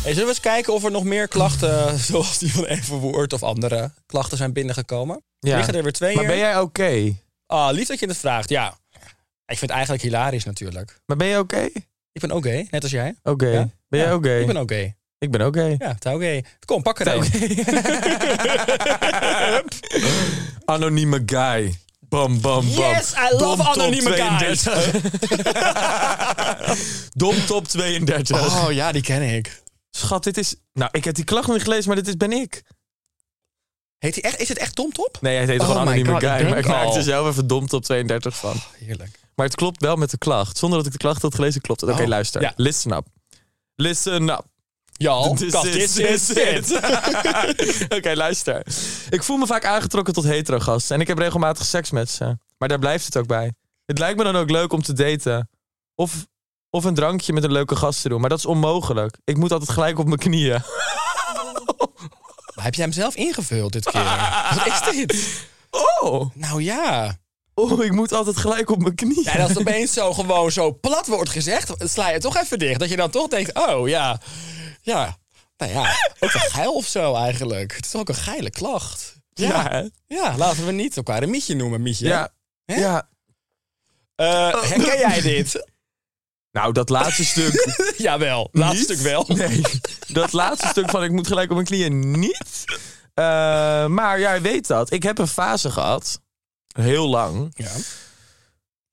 [SPEAKER 3] Hey, zullen we eens kijken of er nog meer klachten, zoals die van Even Woord of andere klachten, zijn binnengekomen? Ja. Liggen er weer twee
[SPEAKER 2] Maar
[SPEAKER 3] hier?
[SPEAKER 2] ben jij oké?
[SPEAKER 3] Ah, lief dat je het vraagt, ja. Ik vind het eigenlijk hilarisch natuurlijk.
[SPEAKER 2] Maar ben jij oké?
[SPEAKER 3] Ik ben oké, net als jij.
[SPEAKER 2] Oké.
[SPEAKER 3] Ja?
[SPEAKER 2] Ben jij
[SPEAKER 3] Ja,
[SPEAKER 2] oké?
[SPEAKER 3] Ik ben oké.
[SPEAKER 2] Ik ben oké.
[SPEAKER 3] Ja, tau oké. Kom, pak er een.
[SPEAKER 2] Anonieme guy. Bam, bam, bam.
[SPEAKER 3] Yes, I love
[SPEAKER 2] Dom top
[SPEAKER 3] anonieme guys.
[SPEAKER 2] 32. Dom top 32.
[SPEAKER 3] Oh ja, die ken ik.
[SPEAKER 2] Schat, dit is... Nou, ik heb die klacht nog niet gelezen, maar dit is, ben ik.
[SPEAKER 3] Heet die echt, is het echt domtop?
[SPEAKER 2] Nee, hij heet
[SPEAKER 3] Oh
[SPEAKER 2] gewoon
[SPEAKER 3] my
[SPEAKER 2] anonieme
[SPEAKER 3] God, ik
[SPEAKER 2] guy.
[SPEAKER 3] denk
[SPEAKER 2] Maar ik maakte
[SPEAKER 3] al.
[SPEAKER 2] er zelf even dom top 32 van.
[SPEAKER 3] Ah, Heerlijk.
[SPEAKER 2] Maar het klopt wel met de klacht. Zonder dat ik de klacht had gelezen, klopt het. Oké,
[SPEAKER 3] Oh,
[SPEAKER 2] luister.
[SPEAKER 3] ja.
[SPEAKER 2] Listen up. Listen up.
[SPEAKER 3] Jal,
[SPEAKER 2] This
[SPEAKER 3] kat,
[SPEAKER 2] Dus is-
[SPEAKER 3] dit is
[SPEAKER 2] this
[SPEAKER 3] dit.
[SPEAKER 2] is it. Oké, luister. Ik voel me vaak aangetrokken tot hetero gasten. En ik heb regelmatig seks met ze. Maar daar blijft het ook bij. Het lijkt me dan ook leuk om te daten. Of, of een drankje met een leuke gast te doen. Maar dat is onmogelijk. Ik moet altijd gelijk op mijn knieën.
[SPEAKER 3] Maar heb jij hem zelf ingevuld dit keer? Wat is dit?
[SPEAKER 2] Oh,
[SPEAKER 3] Nou ja.
[SPEAKER 2] oh ik moet altijd gelijk op mijn knieën.
[SPEAKER 3] Ja, en als het opeens zo gewoon zo plat wordt gezegd, sla je het toch even dicht. Dat je dan toch denkt, oh ja, ja, nou ja, ook een geil of zo eigenlijk. Het is toch ook een geile klacht.
[SPEAKER 2] Ja, hè?
[SPEAKER 3] Ja, laten we niet elkaar een mietje noemen, mietje.
[SPEAKER 2] ja.
[SPEAKER 3] Hè?
[SPEAKER 2] ja.
[SPEAKER 3] Eh, herken jij dit?
[SPEAKER 2] Nou, dat laatste stuk.
[SPEAKER 3] Jawel, laatste
[SPEAKER 2] Niet?
[SPEAKER 3] stuk wel.
[SPEAKER 2] Nee. Dat laatste stuk van ik moet gelijk op mijn knieën niet. Eh, maar jij weet dat. Ik heb een fase gehad. Heel lang.
[SPEAKER 3] Ja.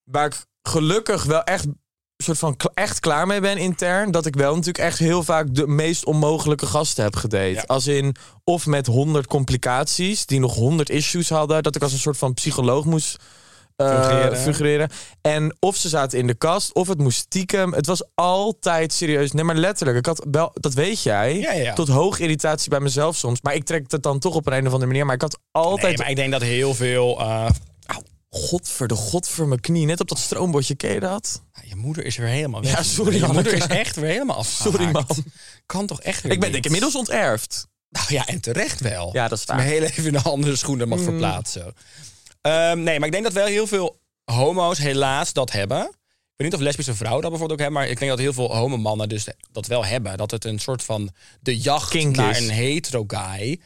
[SPEAKER 2] Waar ik gelukkig wel echt, soort van, kla- echt klaar mee ben intern. Dat ik wel natuurlijk echt heel vaak de meest onmogelijke gasten heb gedate.
[SPEAKER 3] Ja.
[SPEAKER 2] Als in of met honderd complicaties. Die nog honderd issues hadden. Dat ik als een soort van psycholoog moest eh,
[SPEAKER 3] Fungeren.
[SPEAKER 2] fungeren. En of ze zaten in de kast, of het moest stiekem. Het was altijd serieus. Nee, maar letterlijk. Ik had wel, dat weet jij.
[SPEAKER 3] Ja, ja, ja.
[SPEAKER 2] Tot hoog irritatie bij mezelf soms. Maar ik trek dat dan toch op een, een of andere manier. Maar ik had
[SPEAKER 3] Nee,
[SPEAKER 2] altijd.
[SPEAKER 3] maar ik denk dat heel veel... eh,
[SPEAKER 2] Auw, godver de god voor mijn knie. Net op dat stroombordje, ken je dat?
[SPEAKER 3] nou, je moeder is weer helemaal weg.
[SPEAKER 2] Ja, sorry,
[SPEAKER 3] Je moeder is
[SPEAKER 2] Hanneke.
[SPEAKER 3] echt weer helemaal afgehaakt.
[SPEAKER 2] Sorry, man.
[SPEAKER 3] Kan toch echt weer
[SPEAKER 2] Ik ben
[SPEAKER 3] niet?
[SPEAKER 2] denk ik inmiddels onterfd.
[SPEAKER 3] Nou ja, en terecht wel.
[SPEAKER 2] Ja, dat is
[SPEAKER 3] Dat
[SPEAKER 2] waar.
[SPEAKER 3] ik me heel even in de andere schoenen mag verplaatsen. Ehm, nee, maar ik denk dat wel heel veel homo's helaas dat hebben. Ik weet niet of lesbische vrouwen dat bijvoorbeeld ook hebben, maar ik denk dat heel veel homomannen dus dat wel hebben. Dat het een soort van de jacht
[SPEAKER 2] Kink
[SPEAKER 3] naar
[SPEAKER 2] is.
[SPEAKER 3] een hetero guy.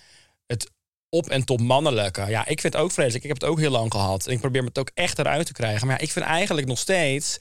[SPEAKER 3] Het op en top mannelijke. Ja, ik vind het ook vreselijk. Ik heb het ook heel lang gehad. En ik probeer me het ook echt eruit te krijgen. Maar ja, ik vind eigenlijk nog steeds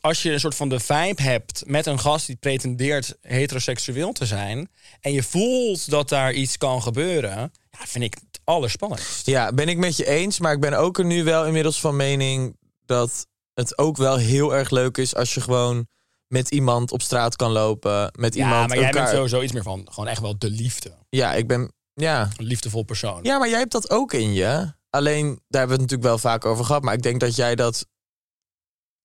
[SPEAKER 3] als je een soort van de vibe hebt met een gast die pretendeert heteroseksueel te zijn. en je voelt dat daar iets kan gebeuren. ja, vind ik het allerspannendst.
[SPEAKER 2] Ja, ben ik met je eens. Maar ik ben ook er nu wel inmiddels van mening dat het ook wel heel erg leuk is als je gewoon met iemand op straat kan lopen. Met
[SPEAKER 3] Ja,
[SPEAKER 2] iemand
[SPEAKER 3] maar jij
[SPEAKER 2] elkaar...
[SPEAKER 3] bent sowieso iets meer van gewoon echt wel de liefde.
[SPEAKER 2] Ja, ik ben... Ja.
[SPEAKER 3] Een liefdevol persoon.
[SPEAKER 2] ja, maar jij hebt dat ook in je. Alleen, daar hebben we het natuurlijk wel vaak over gehad. Maar ik denk dat jij dat...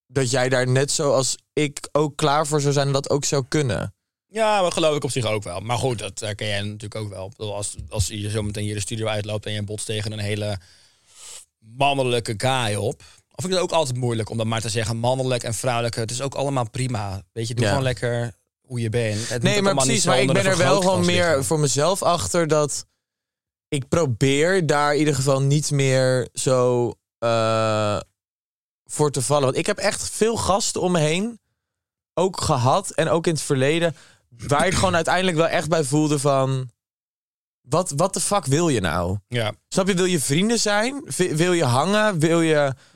[SPEAKER 2] Dat jij daar net zoals ik ook klaar voor zou zijn en dat ook zou kunnen.
[SPEAKER 3] Ja, maar geloof ik op zich ook wel. Maar goed, dat herken jij natuurlijk ook wel. Ik bedoel, Als, als je zo meteen hier de studio uitloopt en je botst tegen een hele mannelijke guy op. Of vind ik het ook altijd moeilijk om dan maar te zeggen mannelijk en vrouwelijke. Het is ook allemaal prima. Weet je, doe
[SPEAKER 2] Ja.
[SPEAKER 3] gewoon lekker hoe je bent. Het moet
[SPEAKER 2] Nee,
[SPEAKER 3] ook
[SPEAKER 2] maar
[SPEAKER 3] allemaal niet
[SPEAKER 2] precies.
[SPEAKER 3] zo
[SPEAKER 2] Maar ik
[SPEAKER 3] onder
[SPEAKER 2] ben
[SPEAKER 3] een
[SPEAKER 2] er wel gewoon
[SPEAKER 3] vergrootglas
[SPEAKER 2] meer
[SPEAKER 3] liggen.
[SPEAKER 2] voor mezelf achter dat ik probeer daar in ieder geval niet meer zo eh, voor te vallen. Want ik heb echt veel gasten om me heen ook gehad en ook in het verleden waar ik gewoon uiteindelijk wel echt bij voelde van wat wat de fuck wil je nou?
[SPEAKER 3] Ja.
[SPEAKER 2] Snap je? Wil je vrienden zijn? Vi- Wil je hangen? Wil je
[SPEAKER 3] ja.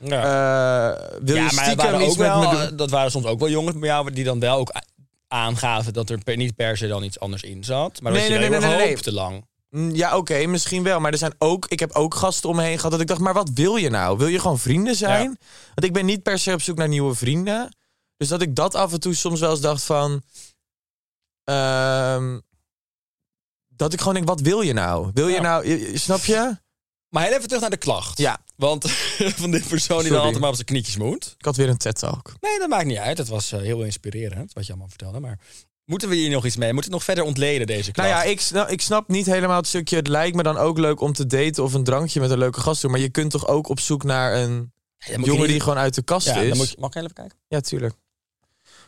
[SPEAKER 2] eh, wil je
[SPEAKER 3] ja, maar er
[SPEAKER 2] stiekem
[SPEAKER 3] waren
[SPEAKER 2] iets
[SPEAKER 3] ook
[SPEAKER 2] met
[SPEAKER 3] wel,
[SPEAKER 2] me doen?
[SPEAKER 3] eh, dat waren soms ook wel jongens bij jou die dan wel ook a- aangaven dat er per- niet per se dan iets anders in zat. Maar
[SPEAKER 2] Nee,
[SPEAKER 3] dat je
[SPEAKER 2] nee,
[SPEAKER 3] heel
[SPEAKER 2] nee,
[SPEAKER 3] erg
[SPEAKER 2] nee, nee, nee.
[SPEAKER 3] hoopte lang.
[SPEAKER 2] Mm, Ja, oké, misschien wel. Maar er zijn ook, ik heb ook gasten omheen gehad dat ik dacht, maar wat wil je nou? Wil je gewoon vrienden zijn? Want ik ben niet per se op zoek naar nieuwe vrienden. Dus dat ik dat af en toe soms wel eens dacht van... ehm, dat ik gewoon denk, wat wil je nou? Wil je
[SPEAKER 3] Ja.
[SPEAKER 2] nou, je- je- snap je?
[SPEAKER 3] Maar heel even terug naar de klacht.
[SPEAKER 2] Ja.
[SPEAKER 3] Want van dit persoon die
[SPEAKER 2] Sorry.
[SPEAKER 3] dan altijd maar op zijn knietjes moet.
[SPEAKER 2] Ik had weer een TED-talk.
[SPEAKER 3] Nee, dat maakt niet uit. Dat was eh, heel inspirerend, wat je allemaal vertelde. Maar moeten we hier nog iets mee? Moeten we het nog verder ontleden, deze klacht?
[SPEAKER 2] Nou ja, ik snap, ik snap niet helemaal het stukje. Het lijkt me dan ook leuk om te daten of een drankje met een leuke gast te doen. Maar je kunt toch ook op zoek naar een
[SPEAKER 3] Ja, dan moet je
[SPEAKER 2] jongen
[SPEAKER 3] niet-
[SPEAKER 2] die gewoon uit de kast
[SPEAKER 3] ja,
[SPEAKER 2] is?
[SPEAKER 3] dan moet je- Mag ik heel even kijken?
[SPEAKER 2] Ja, tuurlijk.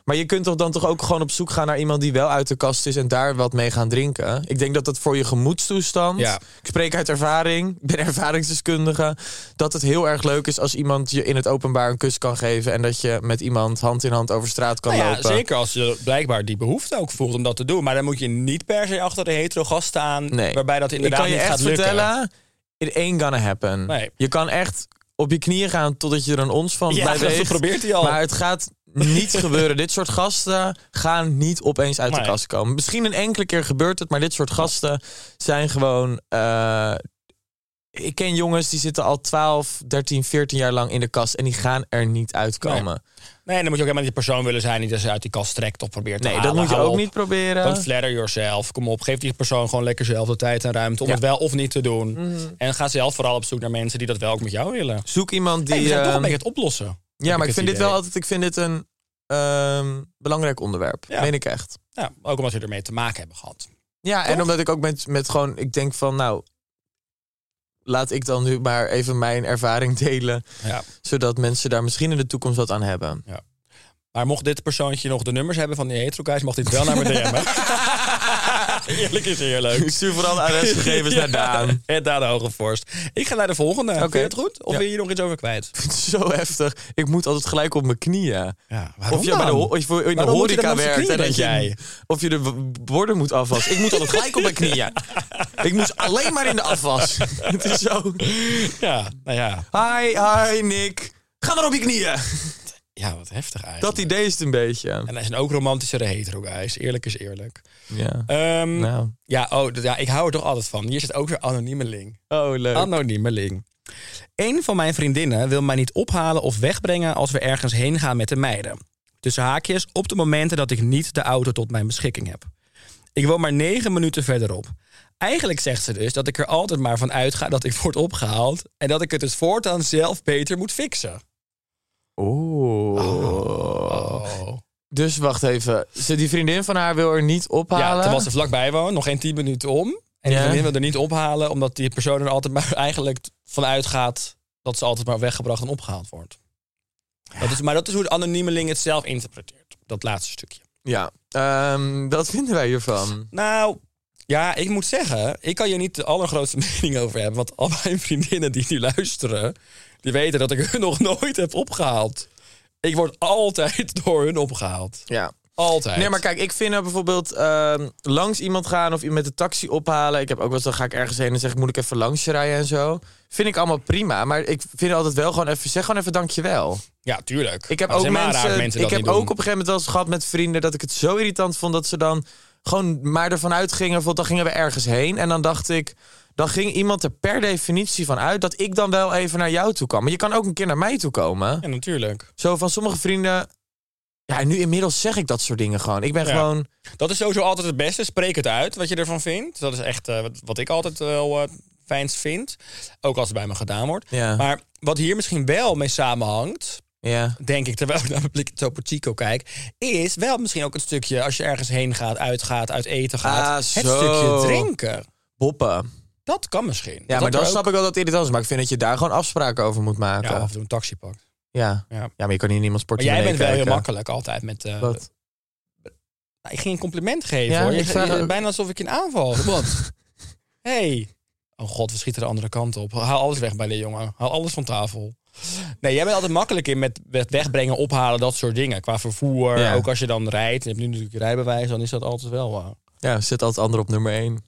[SPEAKER 2] Maar je kunt toch dan toch ook gewoon op zoek gaan naar iemand die wel uit de kast is en daar wat mee gaan drinken. Ik denk dat dat voor je gemoedstoestand.
[SPEAKER 3] Ja.
[SPEAKER 2] Ik spreek uit ervaring, ik ben ervaringsdeskundige. Dat het heel erg leuk is als iemand je in het openbaar een kus kan geven. En dat je met iemand hand in hand over straat kan
[SPEAKER 3] Nou ja,
[SPEAKER 2] lopen.
[SPEAKER 3] zeker als je blijkbaar die behoefte ook voelt om dat te doen. Maar dan moet je niet per se achter de hetero gast staan.
[SPEAKER 2] Nee.
[SPEAKER 3] Waarbij dat
[SPEAKER 2] Ik
[SPEAKER 3] inderdaad
[SPEAKER 2] kan je
[SPEAKER 3] niet
[SPEAKER 2] echt
[SPEAKER 3] gaat lukken.
[SPEAKER 2] vertellen, it ain't gonna happen.
[SPEAKER 3] Nee.
[SPEAKER 2] Je kan echt op je knieën gaan totdat je er een ons van
[SPEAKER 3] Ja,
[SPEAKER 2] blijft.
[SPEAKER 3] dat
[SPEAKER 2] bewegen.
[SPEAKER 3] probeert hij al.
[SPEAKER 2] Maar het gaat niet gebeuren. Dit soort gasten gaan niet opeens uit
[SPEAKER 3] Nee.
[SPEAKER 2] de kast komen. Misschien een enkele keer gebeurt het, maar dit soort gasten zijn gewoon... eh, ik ken jongens die zitten al 12, 13, 14 jaar lang in de kast en die gaan er niet uitkomen.
[SPEAKER 3] Nee, dan moet je ook helemaal niet die persoon willen zijn die dus uit die kast trekt of probeert te
[SPEAKER 2] Nee, dat
[SPEAKER 3] halen.
[SPEAKER 2] moet je
[SPEAKER 3] Nou, Hou
[SPEAKER 2] ook
[SPEAKER 3] op.
[SPEAKER 2] niet proberen.
[SPEAKER 3] Don't flatter yourself. Kom op, geef die persoon gewoon lekker zelf de tijd en ruimte om
[SPEAKER 2] Ja. Mhm.
[SPEAKER 3] het wel of niet te doen. En ga zelf vooral op zoek naar mensen die dat wel ook met jou willen. Die,
[SPEAKER 2] Zoek iemand die...
[SPEAKER 3] we zijn toch
[SPEAKER 2] ehm,
[SPEAKER 3] een beetje het oplossen.
[SPEAKER 2] Ja, maar
[SPEAKER 3] ik het
[SPEAKER 2] ik vind dit
[SPEAKER 3] idee.
[SPEAKER 2] wel altijd. Ik vind dit een ehm, belangrijk onderwerp.
[SPEAKER 3] Ja.
[SPEAKER 2] Meen ik echt.
[SPEAKER 3] Ja, ook omdat we ermee te maken hebben gehad.
[SPEAKER 2] Ja, en
[SPEAKER 3] Toch?
[SPEAKER 2] omdat ik ook met, met gewoon. Ik denk van, nou. Laat ik dan nu maar even mijn ervaring delen.
[SPEAKER 3] Ja.
[SPEAKER 2] Zodat mensen daar misschien in de toekomst wat aan hebben.
[SPEAKER 3] Maar mocht dit persoontje nog de nummers hebben van die hetero guys, mag dit wel naar me DM'en. eerlijk is eerlijk.
[SPEAKER 2] Ik stuur vooral de adresgegevens naar Daan.
[SPEAKER 3] En Daan Hogevorst. Ik ga naar de volgende. Vind je het goed? Of
[SPEAKER 2] Ja.
[SPEAKER 3] wil je hier nog iets over kwijt?
[SPEAKER 2] Ik vind het zo heftig. Ik moet altijd gelijk op mijn knieën.
[SPEAKER 3] Ja,
[SPEAKER 2] Of je, bij de, ho- of je in de
[SPEAKER 3] Waarom moet je dan
[SPEAKER 2] horeca
[SPEAKER 3] op je
[SPEAKER 2] werkt
[SPEAKER 3] knieën,
[SPEAKER 2] en dat je,
[SPEAKER 3] denk jij?
[SPEAKER 2] of je de w- borden moet afwassen. Ik moet altijd gelijk op mijn knieën. Ik moest alleen maar in de afwas. Het is zo.
[SPEAKER 3] Ja, nou ja.
[SPEAKER 2] Hi, hi, Nick. Ga maar op je knieën.
[SPEAKER 3] Ja, wat heftig eigenlijk.
[SPEAKER 2] Dat idee is het een beetje.
[SPEAKER 3] En hij zijn ook romantischere hetero guys. Eerlijk is eerlijk.
[SPEAKER 2] Ja.
[SPEAKER 3] Ehm,
[SPEAKER 2] Nou.
[SPEAKER 3] ja, oh, d- ja, ik hou er toch altijd van. Hier zit ook weer anoniemeling.
[SPEAKER 2] Oh, leuk.
[SPEAKER 3] Anoniemeling. Een van mijn vriendinnen wil mij niet ophalen of wegbrengen als we ergens heen gaan met de meiden. Tussen haakjes op de momenten dat ik niet de auto tot mijn beschikking heb. Ik woon maar negen minuten verderop. Eigenlijk zegt ze dus dat ik er altijd maar van uitga dat ik word opgehaald en dat ik het dus voortaan zelf beter moet fixen.
[SPEAKER 2] Oeh.
[SPEAKER 3] Oh.
[SPEAKER 2] Dus wacht even. Ze, die vriendin van haar wil er niet
[SPEAKER 3] Ja,
[SPEAKER 2] ophalen.
[SPEAKER 3] terwijl ze vlakbij woont, nog geen 10 minuten om. En die
[SPEAKER 2] Ja.
[SPEAKER 3] vriendin wil er niet ophalen, omdat die persoon er altijd maar eigenlijk vanuit gaat dat ze altijd maar weggebracht en opgehaald wordt. Dat is, maar dat is hoe de anoniemeling het zelf interpreteert, dat laatste stukje.
[SPEAKER 2] Ja. Ehm, dat vinden wij hiervan.
[SPEAKER 3] Nou, ja, ik moet zeggen, ik kan hier niet de allergrootste mening over hebben, want al mijn vriendinnen die nu luisteren, die weten dat ik hun nog nooit heb opgehaald. Ik word altijd door hun opgehaald.
[SPEAKER 2] Ja.
[SPEAKER 3] Altijd.
[SPEAKER 2] Nee, maar kijk, ik vind nou bijvoorbeeld ehm, langs iemand gaan of met de taxi ophalen. Ik heb ook wel eens, dan ga ik ergens heen en zeg ik, moet ik even langs je rijden en zo. Vind ik allemaal prima. Maar ik vind altijd wel gewoon even, zeg gewoon even dankjewel.
[SPEAKER 3] ja, tuurlijk.
[SPEAKER 2] Ik
[SPEAKER 3] Maar
[SPEAKER 2] heb
[SPEAKER 3] er
[SPEAKER 2] ook
[SPEAKER 3] zijn maar raar
[SPEAKER 2] mensen,
[SPEAKER 3] mensen
[SPEAKER 2] ik
[SPEAKER 3] dat
[SPEAKER 2] heb
[SPEAKER 3] niet
[SPEAKER 2] ook
[SPEAKER 3] doen.
[SPEAKER 2] op een gegeven moment wel eens gehad met vrienden dat ik het zo irritant vond dat ze dan gewoon maar ervan uitgingen. Bijvoorbeeld, dan gingen we ergens heen en dan dacht ik, dan ging iemand er per definitie van uit dat ik dan wel even naar jou toe kwam. Maar je kan ook een keer naar mij toe komen.
[SPEAKER 3] Ja, natuurlijk.
[SPEAKER 2] Zo van sommige vrienden. Ja, en nu inmiddels zeg ik dat soort dingen gewoon. Ik ben
[SPEAKER 3] Ja.
[SPEAKER 2] gewoon.
[SPEAKER 3] Dat is sowieso altijd het beste. Spreek het uit wat je ervan vindt. Dat is echt eh, wat, wat ik altijd wel eh fijnst vind. Ook als het bij me gedaan wordt.
[SPEAKER 2] Ja.
[SPEAKER 3] Maar wat hier misschien wel mee samenhangt,
[SPEAKER 2] Ja.
[SPEAKER 3] denk ik, terwijl ik naar mijn blik Topo Chico kijk, is wel misschien ook een stukje als je ergens heen gaat, uitgaat, uit eten gaat.
[SPEAKER 2] Ah,
[SPEAKER 3] het
[SPEAKER 2] zo.
[SPEAKER 3] stukje drinken.
[SPEAKER 2] Boppen.
[SPEAKER 3] Dat kan misschien.
[SPEAKER 2] Ja, maar dan
[SPEAKER 3] dat
[SPEAKER 2] snap ik wel dat het irritant is. Maar ik vind dat je daar gewoon afspraken over moet maken.
[SPEAKER 3] Ja,
[SPEAKER 2] Ja.
[SPEAKER 3] of doen een taxi pakt.
[SPEAKER 2] Ja.
[SPEAKER 3] Ja.
[SPEAKER 2] maar je kan hier niemand
[SPEAKER 3] Maar
[SPEAKER 2] sporten.
[SPEAKER 3] jij bent wel heel makkelijk altijd met... eh,
[SPEAKER 2] Wat?
[SPEAKER 3] Nou, ik ging een compliment geven
[SPEAKER 2] Ja,
[SPEAKER 3] hoor.
[SPEAKER 2] ik
[SPEAKER 3] Ik
[SPEAKER 2] vraag ook-
[SPEAKER 3] Bijna alsof ik in aanval. Wat? hey. Oh god, we schieten de andere kant op. Haal alles weg bij de jongen. Haal alles van tafel. Nee, jij bent altijd makkelijk in met met wegbrengen, ophalen, dat soort dingen. Qua vervoer,
[SPEAKER 2] Ja.
[SPEAKER 3] ook als je dan rijdt. Je hebt nu natuurlijk je rijbewijs, dan is dat altijd wel... eh,
[SPEAKER 2] Ja, zit altijd ander op nummer één.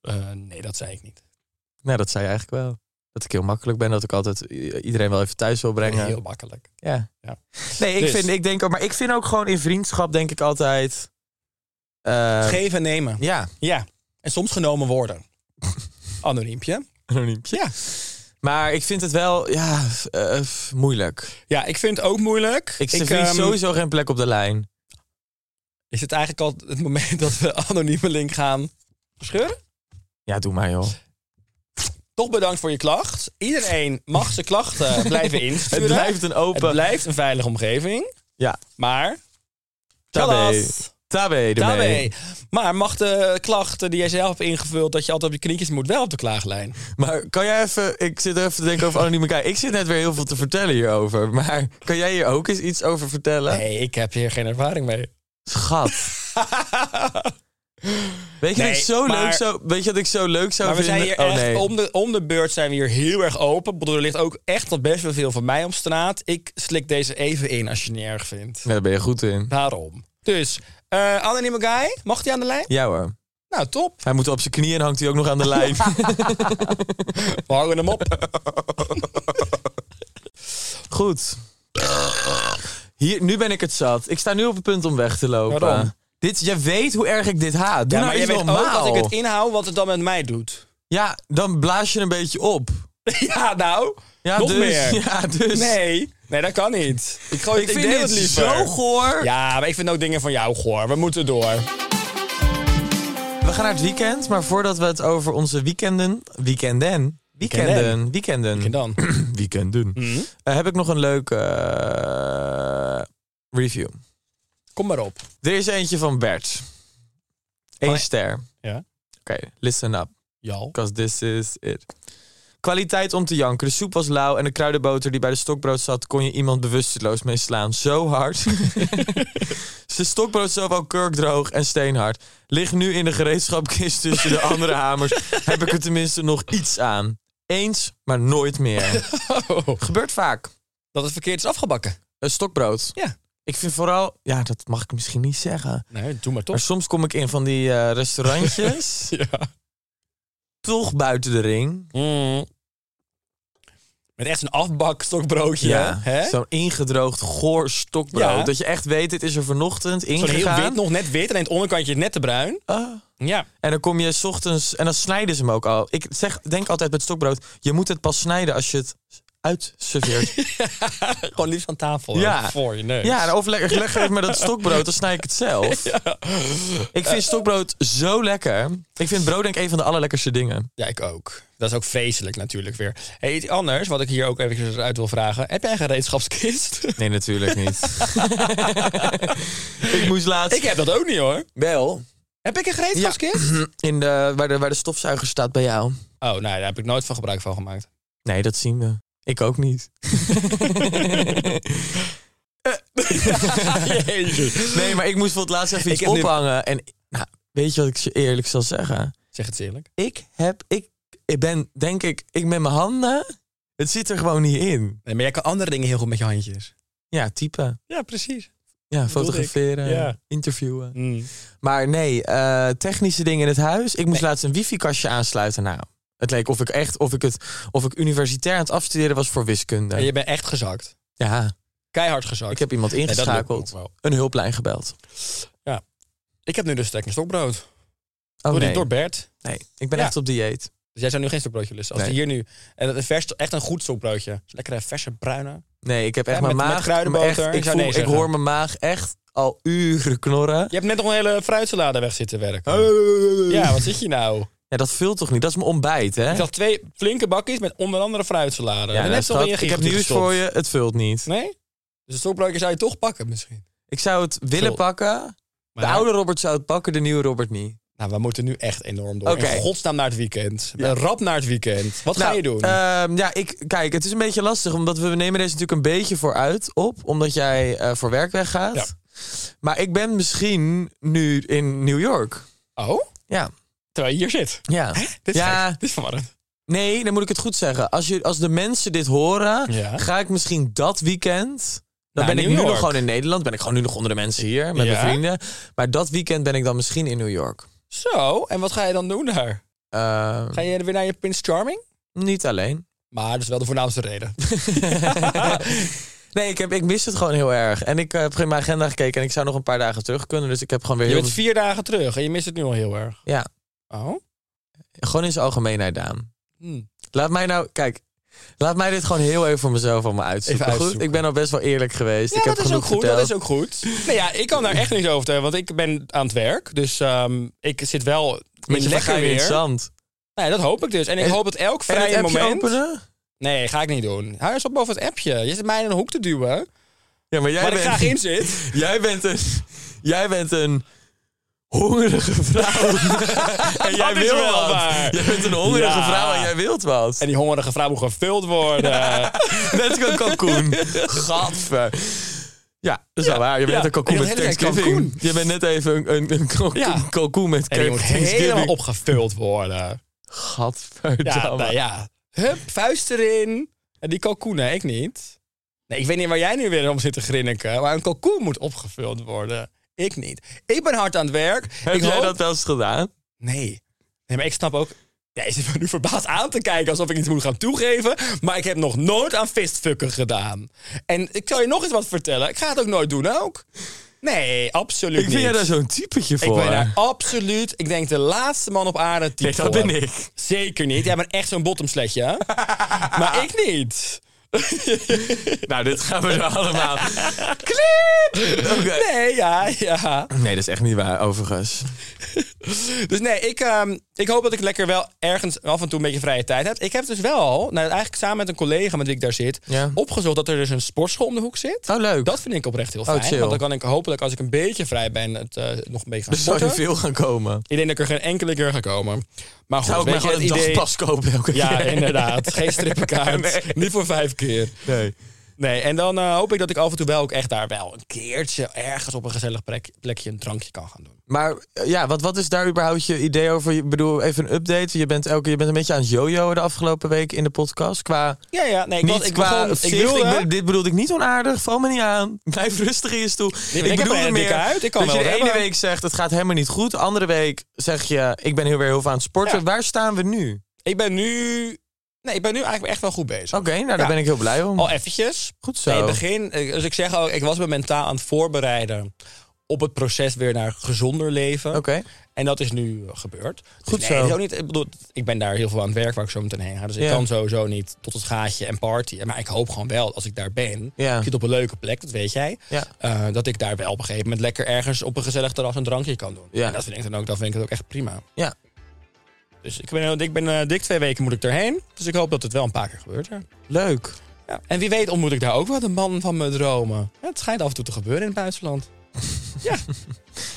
[SPEAKER 3] eh, nee, dat zei ik niet.
[SPEAKER 2] Nou, dat zei je eigenlijk wel. Dat ik heel makkelijk ben, dat ik altijd i- iedereen wel even thuis wil brengen.
[SPEAKER 3] Heel makkelijk.
[SPEAKER 2] Ja.
[SPEAKER 3] Ja.
[SPEAKER 2] Nee, ik,
[SPEAKER 3] Dus.
[SPEAKER 2] vind, ik denk ook, maar ik vind ook gewoon in vriendschap, denk ik altijd. eh,
[SPEAKER 3] Geven en nemen.
[SPEAKER 2] ja,
[SPEAKER 3] Ja. En soms genomen worden. Anoniempje.
[SPEAKER 2] anoniempje.
[SPEAKER 3] Ja.
[SPEAKER 2] Maar ik vind het wel, ja, f- eh, f- moeilijk.
[SPEAKER 3] Ja, ik vind het ook moeilijk.
[SPEAKER 2] Ik, ik
[SPEAKER 3] ehm,
[SPEAKER 2] sowieso geen plek op de lijn.
[SPEAKER 3] Is het eigenlijk al het moment dat we anonieme link gaan scheuren?
[SPEAKER 2] Ja, doe maar joh.
[SPEAKER 3] Toch bedankt voor je klacht. Iedereen mag zijn klachten blijven insturen.
[SPEAKER 2] Het blijft een open-
[SPEAKER 3] Het blijft een veilige omgeving.
[SPEAKER 2] Ja,
[SPEAKER 3] Maar...
[SPEAKER 2] tabé.
[SPEAKER 3] Tjallas.
[SPEAKER 2] Tabé ermee.
[SPEAKER 3] Daarmee. Maar mag de klachten die jij zelf hebt ingevuld... dat je altijd op je knietjes moet, wel op de klaaglijn?
[SPEAKER 2] Maar kan jij even, ik zit even te denken over anonieme kijken. Ik zit net weer heel veel te vertellen hierover. Maar kan jij hier ook eens iets over vertellen?
[SPEAKER 3] Nee, ik heb hier geen ervaring mee.
[SPEAKER 2] Schat. Weet je
[SPEAKER 3] Nee,
[SPEAKER 2] dat ik zo
[SPEAKER 3] maar-
[SPEAKER 2] leuk zou, weet je dat ik zo leuk zou
[SPEAKER 3] Maar we
[SPEAKER 2] vinden?
[SPEAKER 3] zijn hier
[SPEAKER 2] oh
[SPEAKER 3] echt,
[SPEAKER 2] nee.
[SPEAKER 3] om, de, om de beurt zijn we hier heel erg open. Ik bedoel, er ligt ook echt nog best wel veel van mij op straat. Ik slik deze even in als je het niet erg vindt.
[SPEAKER 2] Ja, daar ben je goed in.
[SPEAKER 3] Daarom. Dus, eh anonieme guy, mag die aan de lijn?
[SPEAKER 2] Ja hoor.
[SPEAKER 3] Nou, top.
[SPEAKER 2] Hij moet op zijn knieën en hangt hij ook nog aan de lijn.
[SPEAKER 3] We hangen hem op.
[SPEAKER 2] Goed. Hier, nu ben ik het zat. Ik sta nu op het punt om weg te lopen.
[SPEAKER 3] Waarom?
[SPEAKER 2] Dit, jij weet hoe erg ik dit haat. Doe
[SPEAKER 3] Ja, maar
[SPEAKER 2] nou
[SPEAKER 3] je
[SPEAKER 2] iets
[SPEAKER 3] weet ook
[SPEAKER 2] normaal.
[SPEAKER 3] als ik het inhoud wat het dan met mij doet.
[SPEAKER 2] Ja, dan blaas je een beetje op.
[SPEAKER 3] ja, nou.
[SPEAKER 2] Ja,
[SPEAKER 3] nog
[SPEAKER 2] dus,
[SPEAKER 3] meer.
[SPEAKER 2] Ja, dus.
[SPEAKER 3] Nee. Nee, dat kan niet. Ik, gooi,
[SPEAKER 2] Ik
[SPEAKER 3] ik,
[SPEAKER 2] vind
[SPEAKER 3] deel
[SPEAKER 2] dit
[SPEAKER 3] het liever.
[SPEAKER 2] zo goor.
[SPEAKER 3] Ja, maar ik vind ook dingen van jou goor. We moeten door.
[SPEAKER 2] We gaan naar het weekend, maar voordat we het over onze weekenden... Weekenden? Weekenden.
[SPEAKER 3] Weekenden.
[SPEAKER 2] Weekenden.
[SPEAKER 3] En dan?
[SPEAKER 2] Weekenden. Eh, heb ik nog een leuke eh, review.
[SPEAKER 3] Kom maar op.
[SPEAKER 2] Er is eentje van Bert. Eén
[SPEAKER 3] Van-
[SPEAKER 2] ster.
[SPEAKER 3] Ja.
[SPEAKER 2] Oké, listen up.
[SPEAKER 3] Jal.
[SPEAKER 2] Because this is it. Kwaliteit om te janken. De soep was lauw en de kruidenboter die bij de stokbrood zat... kon je iemand bewusteloos mee slaan. Zo hard. Zijn stokbrood zelf al kurkdroog en steenhard. Ligt nu in de gereedschapkist tussen de andere hamers. Heb ik er tenminste nog iets aan. Eens, maar nooit meer. Gebeurt vaak.
[SPEAKER 3] Dat het verkeerd is afgebakken.
[SPEAKER 2] Een stokbrood.
[SPEAKER 3] Ja.
[SPEAKER 2] Ik vind vooral... Ja, dat mag ik misschien niet zeggen.
[SPEAKER 3] Nee, doe maar
[SPEAKER 2] Maar
[SPEAKER 3] toch.
[SPEAKER 2] soms kom ik in van die eh, restaurantjes...
[SPEAKER 3] Ja.
[SPEAKER 2] toch buiten de ring.
[SPEAKER 3] Mm. Met echt zo'n afbakstokbroodje. hè?
[SPEAKER 2] Zo'n ingedroogd, goor stokbrood.
[SPEAKER 3] Ja.
[SPEAKER 2] Dat je echt weet, dit is er vanochtend
[SPEAKER 3] Zo'n heel
[SPEAKER 2] ingegaan.
[SPEAKER 3] wit, nog net wit. En aan het onderkantje net te bruin.
[SPEAKER 2] Ah.
[SPEAKER 3] Ja.
[SPEAKER 2] En dan kom je 's ochtends... En dan snijden ze hem ook al. Ik zeg, denk altijd met stokbrood... je moet het pas snijden als je het uitserveert.
[SPEAKER 3] Gewoon liefst aan tafel.
[SPEAKER 2] Ja.
[SPEAKER 3] hè, Voor je neus.
[SPEAKER 2] ja, en of leg, leg even maar dat stokbrood, dan snij ik het zelf. Ik vind stokbrood zo lekker. Ik vind brood denk ik een van de allerlekkerste dingen.
[SPEAKER 3] Ja, ik ook. Dat is ook vreselijk natuurlijk weer. Hey, iets anders, wat ik hier ook even uit wil vragen. Heb jij een gereedschapskist?
[SPEAKER 2] Nee, natuurlijk niet. ik moest laatst...
[SPEAKER 3] ik heb dat ook niet hoor.
[SPEAKER 2] wel.
[SPEAKER 3] Heb ik een gereedschapskist?
[SPEAKER 2] In de, waar, de, waar de stofzuiger staat bij jou.
[SPEAKER 3] Oh, nou, daar heb ik nooit van gebruik van gemaakt.
[SPEAKER 2] Nee, dat zien we. Ik ook niet.
[SPEAKER 3] Jezus.
[SPEAKER 2] Nee, maar ik moest voor het laatst even
[SPEAKER 3] Ik
[SPEAKER 2] iets
[SPEAKER 3] heb nu-
[SPEAKER 2] ophangen. En nou, weet je wat ik je eerlijk zal zeggen?
[SPEAKER 3] Zeg het eerlijk.
[SPEAKER 2] Ik heb, ik, ik ben, denk ik, ik met mijn handen, het zit er gewoon niet in.
[SPEAKER 3] Nee, maar jij kan andere dingen heel goed met je handjes.
[SPEAKER 2] Ja, typen.
[SPEAKER 3] Ja, precies.
[SPEAKER 2] Ja,
[SPEAKER 3] bedoelde ik.
[SPEAKER 2] fotograferen,
[SPEAKER 3] Ja.
[SPEAKER 2] interviewen.
[SPEAKER 3] Mm.
[SPEAKER 2] Maar nee, eh, technische dingen in het huis. Ik moest laatst een wifi-kastje aansluiten. Nou, het leek of ik echt, of ik het, of ik universitair aan het afstuderen was voor wiskunde.
[SPEAKER 3] En je bent echt gezakt.
[SPEAKER 2] Ja,
[SPEAKER 3] Keihard gezakt.
[SPEAKER 2] ik heb iemand
[SPEAKER 3] dat lukt me
[SPEAKER 2] ingeschakeld,
[SPEAKER 3] ook wel.
[SPEAKER 2] een hulplijn gebeld.
[SPEAKER 3] ik heb nu dus trek in stokbrood.
[SPEAKER 2] Oh
[SPEAKER 3] door, die-
[SPEAKER 2] nee,
[SPEAKER 3] door Bert.
[SPEAKER 2] nee, ik ben
[SPEAKER 3] Ja.
[SPEAKER 2] echt op dieet.
[SPEAKER 3] Dus jij zou nu geen stokbroodje lusten. Als
[SPEAKER 2] Nee.
[SPEAKER 3] die hier nu... En dat is vers, echt een goed stokbroodje. Lekkere verse bruine.
[SPEAKER 2] Nee, ik heb echt
[SPEAKER 3] Ja,
[SPEAKER 2] mijn
[SPEAKER 3] met- met
[SPEAKER 2] maag.
[SPEAKER 3] kruidenboter,
[SPEAKER 2] echt- ik,
[SPEAKER 3] ik zou
[SPEAKER 2] voel-
[SPEAKER 3] nee
[SPEAKER 2] ik
[SPEAKER 3] zeggen.
[SPEAKER 2] hoor mijn maag echt al uren knorren.
[SPEAKER 3] Je hebt net nog een hele fruitsalade weg zitten werken. Ja, wat zit je nou?
[SPEAKER 2] Ja, dat vult toch niet? Dat is mijn ontbijt, hè?
[SPEAKER 3] Ik zag twee flinke bakjes met onder andere fruitsalade.
[SPEAKER 2] Ja,
[SPEAKER 3] en
[SPEAKER 2] nou,
[SPEAKER 3] net zo
[SPEAKER 2] schat,
[SPEAKER 3] ben je
[SPEAKER 2] ik heb
[SPEAKER 3] gigantisch
[SPEAKER 2] nieuws
[SPEAKER 3] gestopt.
[SPEAKER 2] voor je, het vult niet.
[SPEAKER 3] Nee? Dus een stokbroodje zou je toch pakken misschien.
[SPEAKER 2] Ik zou het willen
[SPEAKER 3] Vul.
[SPEAKER 2] pakken. De oude Robert zou het pakken, de nieuwe Robert niet.
[SPEAKER 3] Nou, we moeten nu echt enorm door.
[SPEAKER 2] Oké.
[SPEAKER 3] In godsnaam naar het weekend. Rap naar het weekend. Wat ga
[SPEAKER 2] Nou,
[SPEAKER 3] je doen?
[SPEAKER 2] ehm, ja, ik, kijk, het is een beetje lastig, omdat we nemen deze natuurlijk een beetje vooruit op, omdat jij eh, voor werk weggaat.
[SPEAKER 3] Ja.
[SPEAKER 2] Maar ik ben misschien nu in New York.
[SPEAKER 3] Oh?
[SPEAKER 2] Ja.
[SPEAKER 3] Terwijl je hier zit.
[SPEAKER 2] Ja.
[SPEAKER 3] Dit is,
[SPEAKER 2] ja.
[SPEAKER 3] gek. Dit is verwarrend.
[SPEAKER 2] Nee, dan moet ik het goed zeggen. Als, je, als de mensen dit horen,
[SPEAKER 3] Ja.
[SPEAKER 2] ga ik misschien dat weekend. Dan
[SPEAKER 3] Naar
[SPEAKER 2] ben ik
[SPEAKER 3] New
[SPEAKER 2] nu nog
[SPEAKER 3] York.
[SPEAKER 2] gewoon in Nederland. Ben ik gewoon nu nog onder de mensen hier met
[SPEAKER 3] Ja.
[SPEAKER 2] mijn vrienden. Maar dat weekend ben ik dan misschien in New York.
[SPEAKER 3] Zo, en wat ga je dan doen daar?
[SPEAKER 2] Eh,
[SPEAKER 3] Ga je weer naar je Prince Charming?
[SPEAKER 2] niet alleen.
[SPEAKER 3] Maar dat is wel de voornaamste reden.
[SPEAKER 2] Nee, ik, heb, ik mis het gewoon heel erg. En ik eh, heb in mijn agenda gekeken en ik zou nog een paar dagen terug kunnen. Dus ik heb gewoon weer
[SPEAKER 3] Je
[SPEAKER 2] heel
[SPEAKER 3] bent
[SPEAKER 2] veel-
[SPEAKER 3] vier dagen terug en je mist het nu al heel erg.
[SPEAKER 2] Ja,
[SPEAKER 3] Oh?
[SPEAKER 2] gewoon in zijn algemeenheid, Daan.
[SPEAKER 3] Hm.
[SPEAKER 2] Laat mij nou, kijk, laat mij dit gewoon heel even voor mezelf allemaal uitzoeken.
[SPEAKER 3] Even
[SPEAKER 2] Goed,
[SPEAKER 3] uitzoeken.
[SPEAKER 2] ik ben al best wel eerlijk geweest.
[SPEAKER 3] Ja,
[SPEAKER 2] ik heb
[SPEAKER 3] dat is ook
[SPEAKER 2] genoeg
[SPEAKER 3] goed.
[SPEAKER 2] verteld.
[SPEAKER 3] Dat is ook goed. Nou ja, ik kan daar echt niks over vertellen, want ik ben aan het werk. Dus ehm, ik zit wel in lekker
[SPEAKER 2] Mensen vergaan je in
[SPEAKER 3] weer.
[SPEAKER 2] het zand.
[SPEAKER 3] Nee, dat hoop ik dus. En ik
[SPEAKER 2] En-
[SPEAKER 3] hoop dat elk
[SPEAKER 2] En het
[SPEAKER 3] vrije
[SPEAKER 2] appje
[SPEAKER 3] moment...
[SPEAKER 2] openen?
[SPEAKER 3] Nee, ga ik niet doen. Hou eens op boven het appje. Je zit mij in een hoek te duwen.
[SPEAKER 2] Ja, maar jij
[SPEAKER 3] waar ik
[SPEAKER 2] bent,
[SPEAKER 3] graag in zit.
[SPEAKER 2] Jij bent een, jij bent een hongerige vrouw. en jij
[SPEAKER 3] Dat is
[SPEAKER 2] wil
[SPEAKER 3] wel
[SPEAKER 2] wat.
[SPEAKER 3] waar.
[SPEAKER 2] Jij bent een hongerige
[SPEAKER 3] Ja.
[SPEAKER 2] vrouw en jij wilt wat.
[SPEAKER 3] En die hongerige vrouw moet gevuld worden.
[SPEAKER 2] Net als een kalkoen. Gadver. Ja, dat is wel waar. Je bent
[SPEAKER 3] ja.
[SPEAKER 2] een kalkoen
[SPEAKER 3] Ja,
[SPEAKER 2] met
[SPEAKER 3] de hele tijd
[SPEAKER 2] Thanksgiving.
[SPEAKER 3] kalkoen.
[SPEAKER 2] Je bent net even een, een, een kalkoen,
[SPEAKER 3] Ja.
[SPEAKER 2] kalkoen met
[SPEAKER 3] en die moet helemaal
[SPEAKER 2] Thanksgiving.
[SPEAKER 3] opgevuld worden. Ja,
[SPEAKER 2] Gadverdamme.
[SPEAKER 3] nou ja. Hup, vuist erin. En die kalkoenen, ik niet. Nee, ik weet niet waar jij nu weer om zit te grinniken. Maar een kalkoen moet opgevuld worden. Ik niet. Ik ben hard aan het werk.
[SPEAKER 2] Heb
[SPEAKER 3] ik
[SPEAKER 2] jij
[SPEAKER 3] hoop-
[SPEAKER 2] dat wel eens gedaan?
[SPEAKER 3] Nee. Nee, maar ik snap ook... Jij zit me nu verbaasd aan te kijken alsof ik iets moet gaan toegeven. Maar ik heb nog nooit aan fistfucken gedaan. En ik zal je nog eens wat vertellen. Ik ga het ook nooit doen ook. Nee, absoluut
[SPEAKER 2] Ik
[SPEAKER 3] niet.
[SPEAKER 2] vind jij daar zo'n typetje
[SPEAKER 3] ik
[SPEAKER 2] voor.
[SPEAKER 3] ben daar absoluut, ik denk de laatste man op aarde die
[SPEAKER 2] Nee, dat
[SPEAKER 3] voor-
[SPEAKER 2] ben ik.
[SPEAKER 3] Zeker niet. Jij bent echt zo'n bottomsletje. hè? maar ik niet.
[SPEAKER 2] Nou, dit gaan we er allemaal. Clip! Oké.
[SPEAKER 3] Nee, ja, ja.
[SPEAKER 2] Nee, dat is echt niet waar, overigens.
[SPEAKER 3] Dus nee, ik, ehm, ik hoop dat ik lekker wel ergens af en toe een beetje vrije tijd heb. Ik heb dus wel, nou, eigenlijk samen met een collega met wie ik daar zit,
[SPEAKER 2] Ja.
[SPEAKER 3] opgezocht dat er dus een sportschool om de hoek zit.
[SPEAKER 2] Oh, leuk.
[SPEAKER 3] Dat vind ik oprecht heel fijn.
[SPEAKER 2] chill.
[SPEAKER 3] want dan kan ik hopelijk, als ik een beetje vrij ben, het eh, nog een beetje gaan
[SPEAKER 2] Er zou je
[SPEAKER 3] sporten.
[SPEAKER 2] veel gaan komen.
[SPEAKER 3] Ik denk dat ik er geen enkele keer ga komen. Maar goed,
[SPEAKER 2] Zou ik
[SPEAKER 3] weet
[SPEAKER 2] mij
[SPEAKER 3] je,
[SPEAKER 2] gewoon een
[SPEAKER 3] het idee...
[SPEAKER 2] dagpas kopen elke
[SPEAKER 3] Ja,
[SPEAKER 2] keer?
[SPEAKER 3] inderdaad. Geen strippenkaart. Niet voor vijf keer.
[SPEAKER 2] Nee.
[SPEAKER 3] Nee, en dan eh, hoop ik dat ik af en toe wel ook echt daar wel een keertje ergens op een gezellig plek, plekje een drankje kan gaan doen.
[SPEAKER 2] Maar eh, ja, wat, wat is daar überhaupt je idee over? Ik bedoel, even een update. Je bent, elke, je bent een beetje aan het jojoen de afgelopen week in de podcast. Qua,
[SPEAKER 3] Ja, ja, nee, ik,
[SPEAKER 2] niet
[SPEAKER 3] was, ik,
[SPEAKER 2] qua
[SPEAKER 3] begon, ik
[SPEAKER 2] zicht.
[SPEAKER 3] wilde...
[SPEAKER 2] ben- dit bedoelde ik niet onaardig. Val me niet aan. Blijf rustig in je stoel.
[SPEAKER 3] ik heb
[SPEAKER 2] bedoelde
[SPEAKER 3] een hele dikke huid, ik kan
[SPEAKER 2] dat
[SPEAKER 3] wel
[SPEAKER 2] je de
[SPEAKER 3] wat
[SPEAKER 2] ene
[SPEAKER 3] hebben.
[SPEAKER 2] week zegt, het gaat helemaal niet goed. Andere week zeg je, ik ben heel weer heel veel aan het sporten.
[SPEAKER 3] Ja.
[SPEAKER 2] Waar staan we nu? Oké,
[SPEAKER 3] Ik ben nu... Nee, ik ben nu eigenlijk echt wel goed bezig.
[SPEAKER 2] nou daar
[SPEAKER 3] Ja.
[SPEAKER 2] ben ik heel blij om.
[SPEAKER 3] Al eventjes.
[SPEAKER 2] Goed zo.
[SPEAKER 3] Nee, het begin, eh, dus ik zeg ook, ik was me mentaal aan het voorbereiden op het proces weer naar gezonder leven.
[SPEAKER 2] Oké.
[SPEAKER 3] En dat is nu eh, gebeurd. Dus
[SPEAKER 2] Goed
[SPEAKER 3] nee,
[SPEAKER 2] zo.
[SPEAKER 3] het is ook niet, ik, bedoel, ik ben daar heel veel aan het werk waar ik zo meteen heen ga. Dus
[SPEAKER 2] Ja.
[SPEAKER 3] ik kan sowieso niet tot het gaatje en party. Maar ik hoop gewoon wel, als ik daar ben...
[SPEAKER 2] Ja.
[SPEAKER 3] Ik zit op een leuke plek, dat weet jij.
[SPEAKER 2] Ja.
[SPEAKER 3] eh, dat ik daar wel op een gegeven moment lekker ergens op een gezellig terras een drankje kan doen.
[SPEAKER 2] Ja.
[SPEAKER 3] En dat vind ik dan ook, dat vind ik het ook echt prima.
[SPEAKER 2] Ja.
[SPEAKER 3] Dus ik ben, heel- ik ben eh, dik twee weken moet ik erheen. Dus ik hoop dat het wel een paar keer gebeurt. ja.
[SPEAKER 2] Leuk.
[SPEAKER 3] Ja. En wie weet ontmoet ik daar ook wel de man van mijn dromen. Ja, het schijnt af en toe te gebeuren in het buitenland.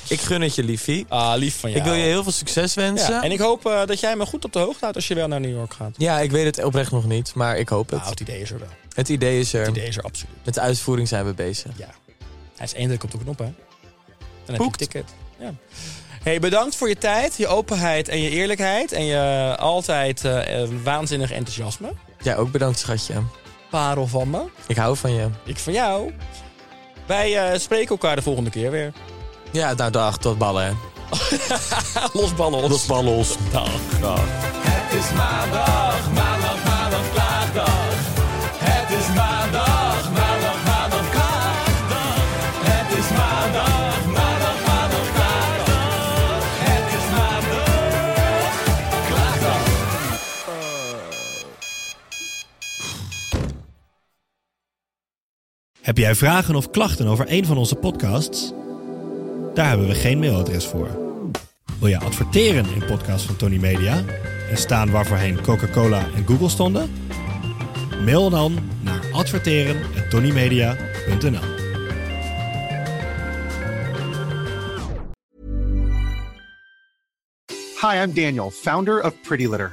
[SPEAKER 2] Ik gun het je, liefie.
[SPEAKER 3] Ah, lief van jou.
[SPEAKER 2] Ik wil je heel veel succes wensen.
[SPEAKER 3] ja. En ik hoop eh, dat jij me goed op de hoogte houdt als je wel naar New York gaat.
[SPEAKER 2] Ja, ik weet het oprecht nog niet, maar ik hoop het.
[SPEAKER 3] Nou, het idee is er wel.
[SPEAKER 2] Het idee is er.
[SPEAKER 3] Het idee is er absoluut.
[SPEAKER 2] Met de uitvoering zijn we bezig.
[SPEAKER 3] Ja. Hij is één druk op de knop, hè? Dan heb je een
[SPEAKER 2] Boekt.
[SPEAKER 3] ticket. Ja. Hey, bedankt voor je tijd, je openheid en je eerlijkheid. En je altijd eh, eh, waanzinnig enthousiasme.
[SPEAKER 2] Jij ook bedankt, schatje.
[SPEAKER 3] Parel van me.
[SPEAKER 2] Ik hou van je.
[SPEAKER 3] Ik van jou. Wij eh, spreken elkaar de volgende keer weer.
[SPEAKER 2] Ja, nou dag, tot ballen. hè.
[SPEAKER 3] Los ballen op.
[SPEAKER 2] Los ballen. los.
[SPEAKER 3] Dag.
[SPEAKER 6] Heb jij vragen of klachten over een van onze podcasts? Daar hebben we geen mailadres voor. Wil jij adverteren in podcasts van Tony Media en staan waarvoorheen Coca-Cola en Google stonden? Mail dan naar adverteren@tonymedia.nl.
[SPEAKER 7] Hi, I'm Daniel, founder of Pretty Litter.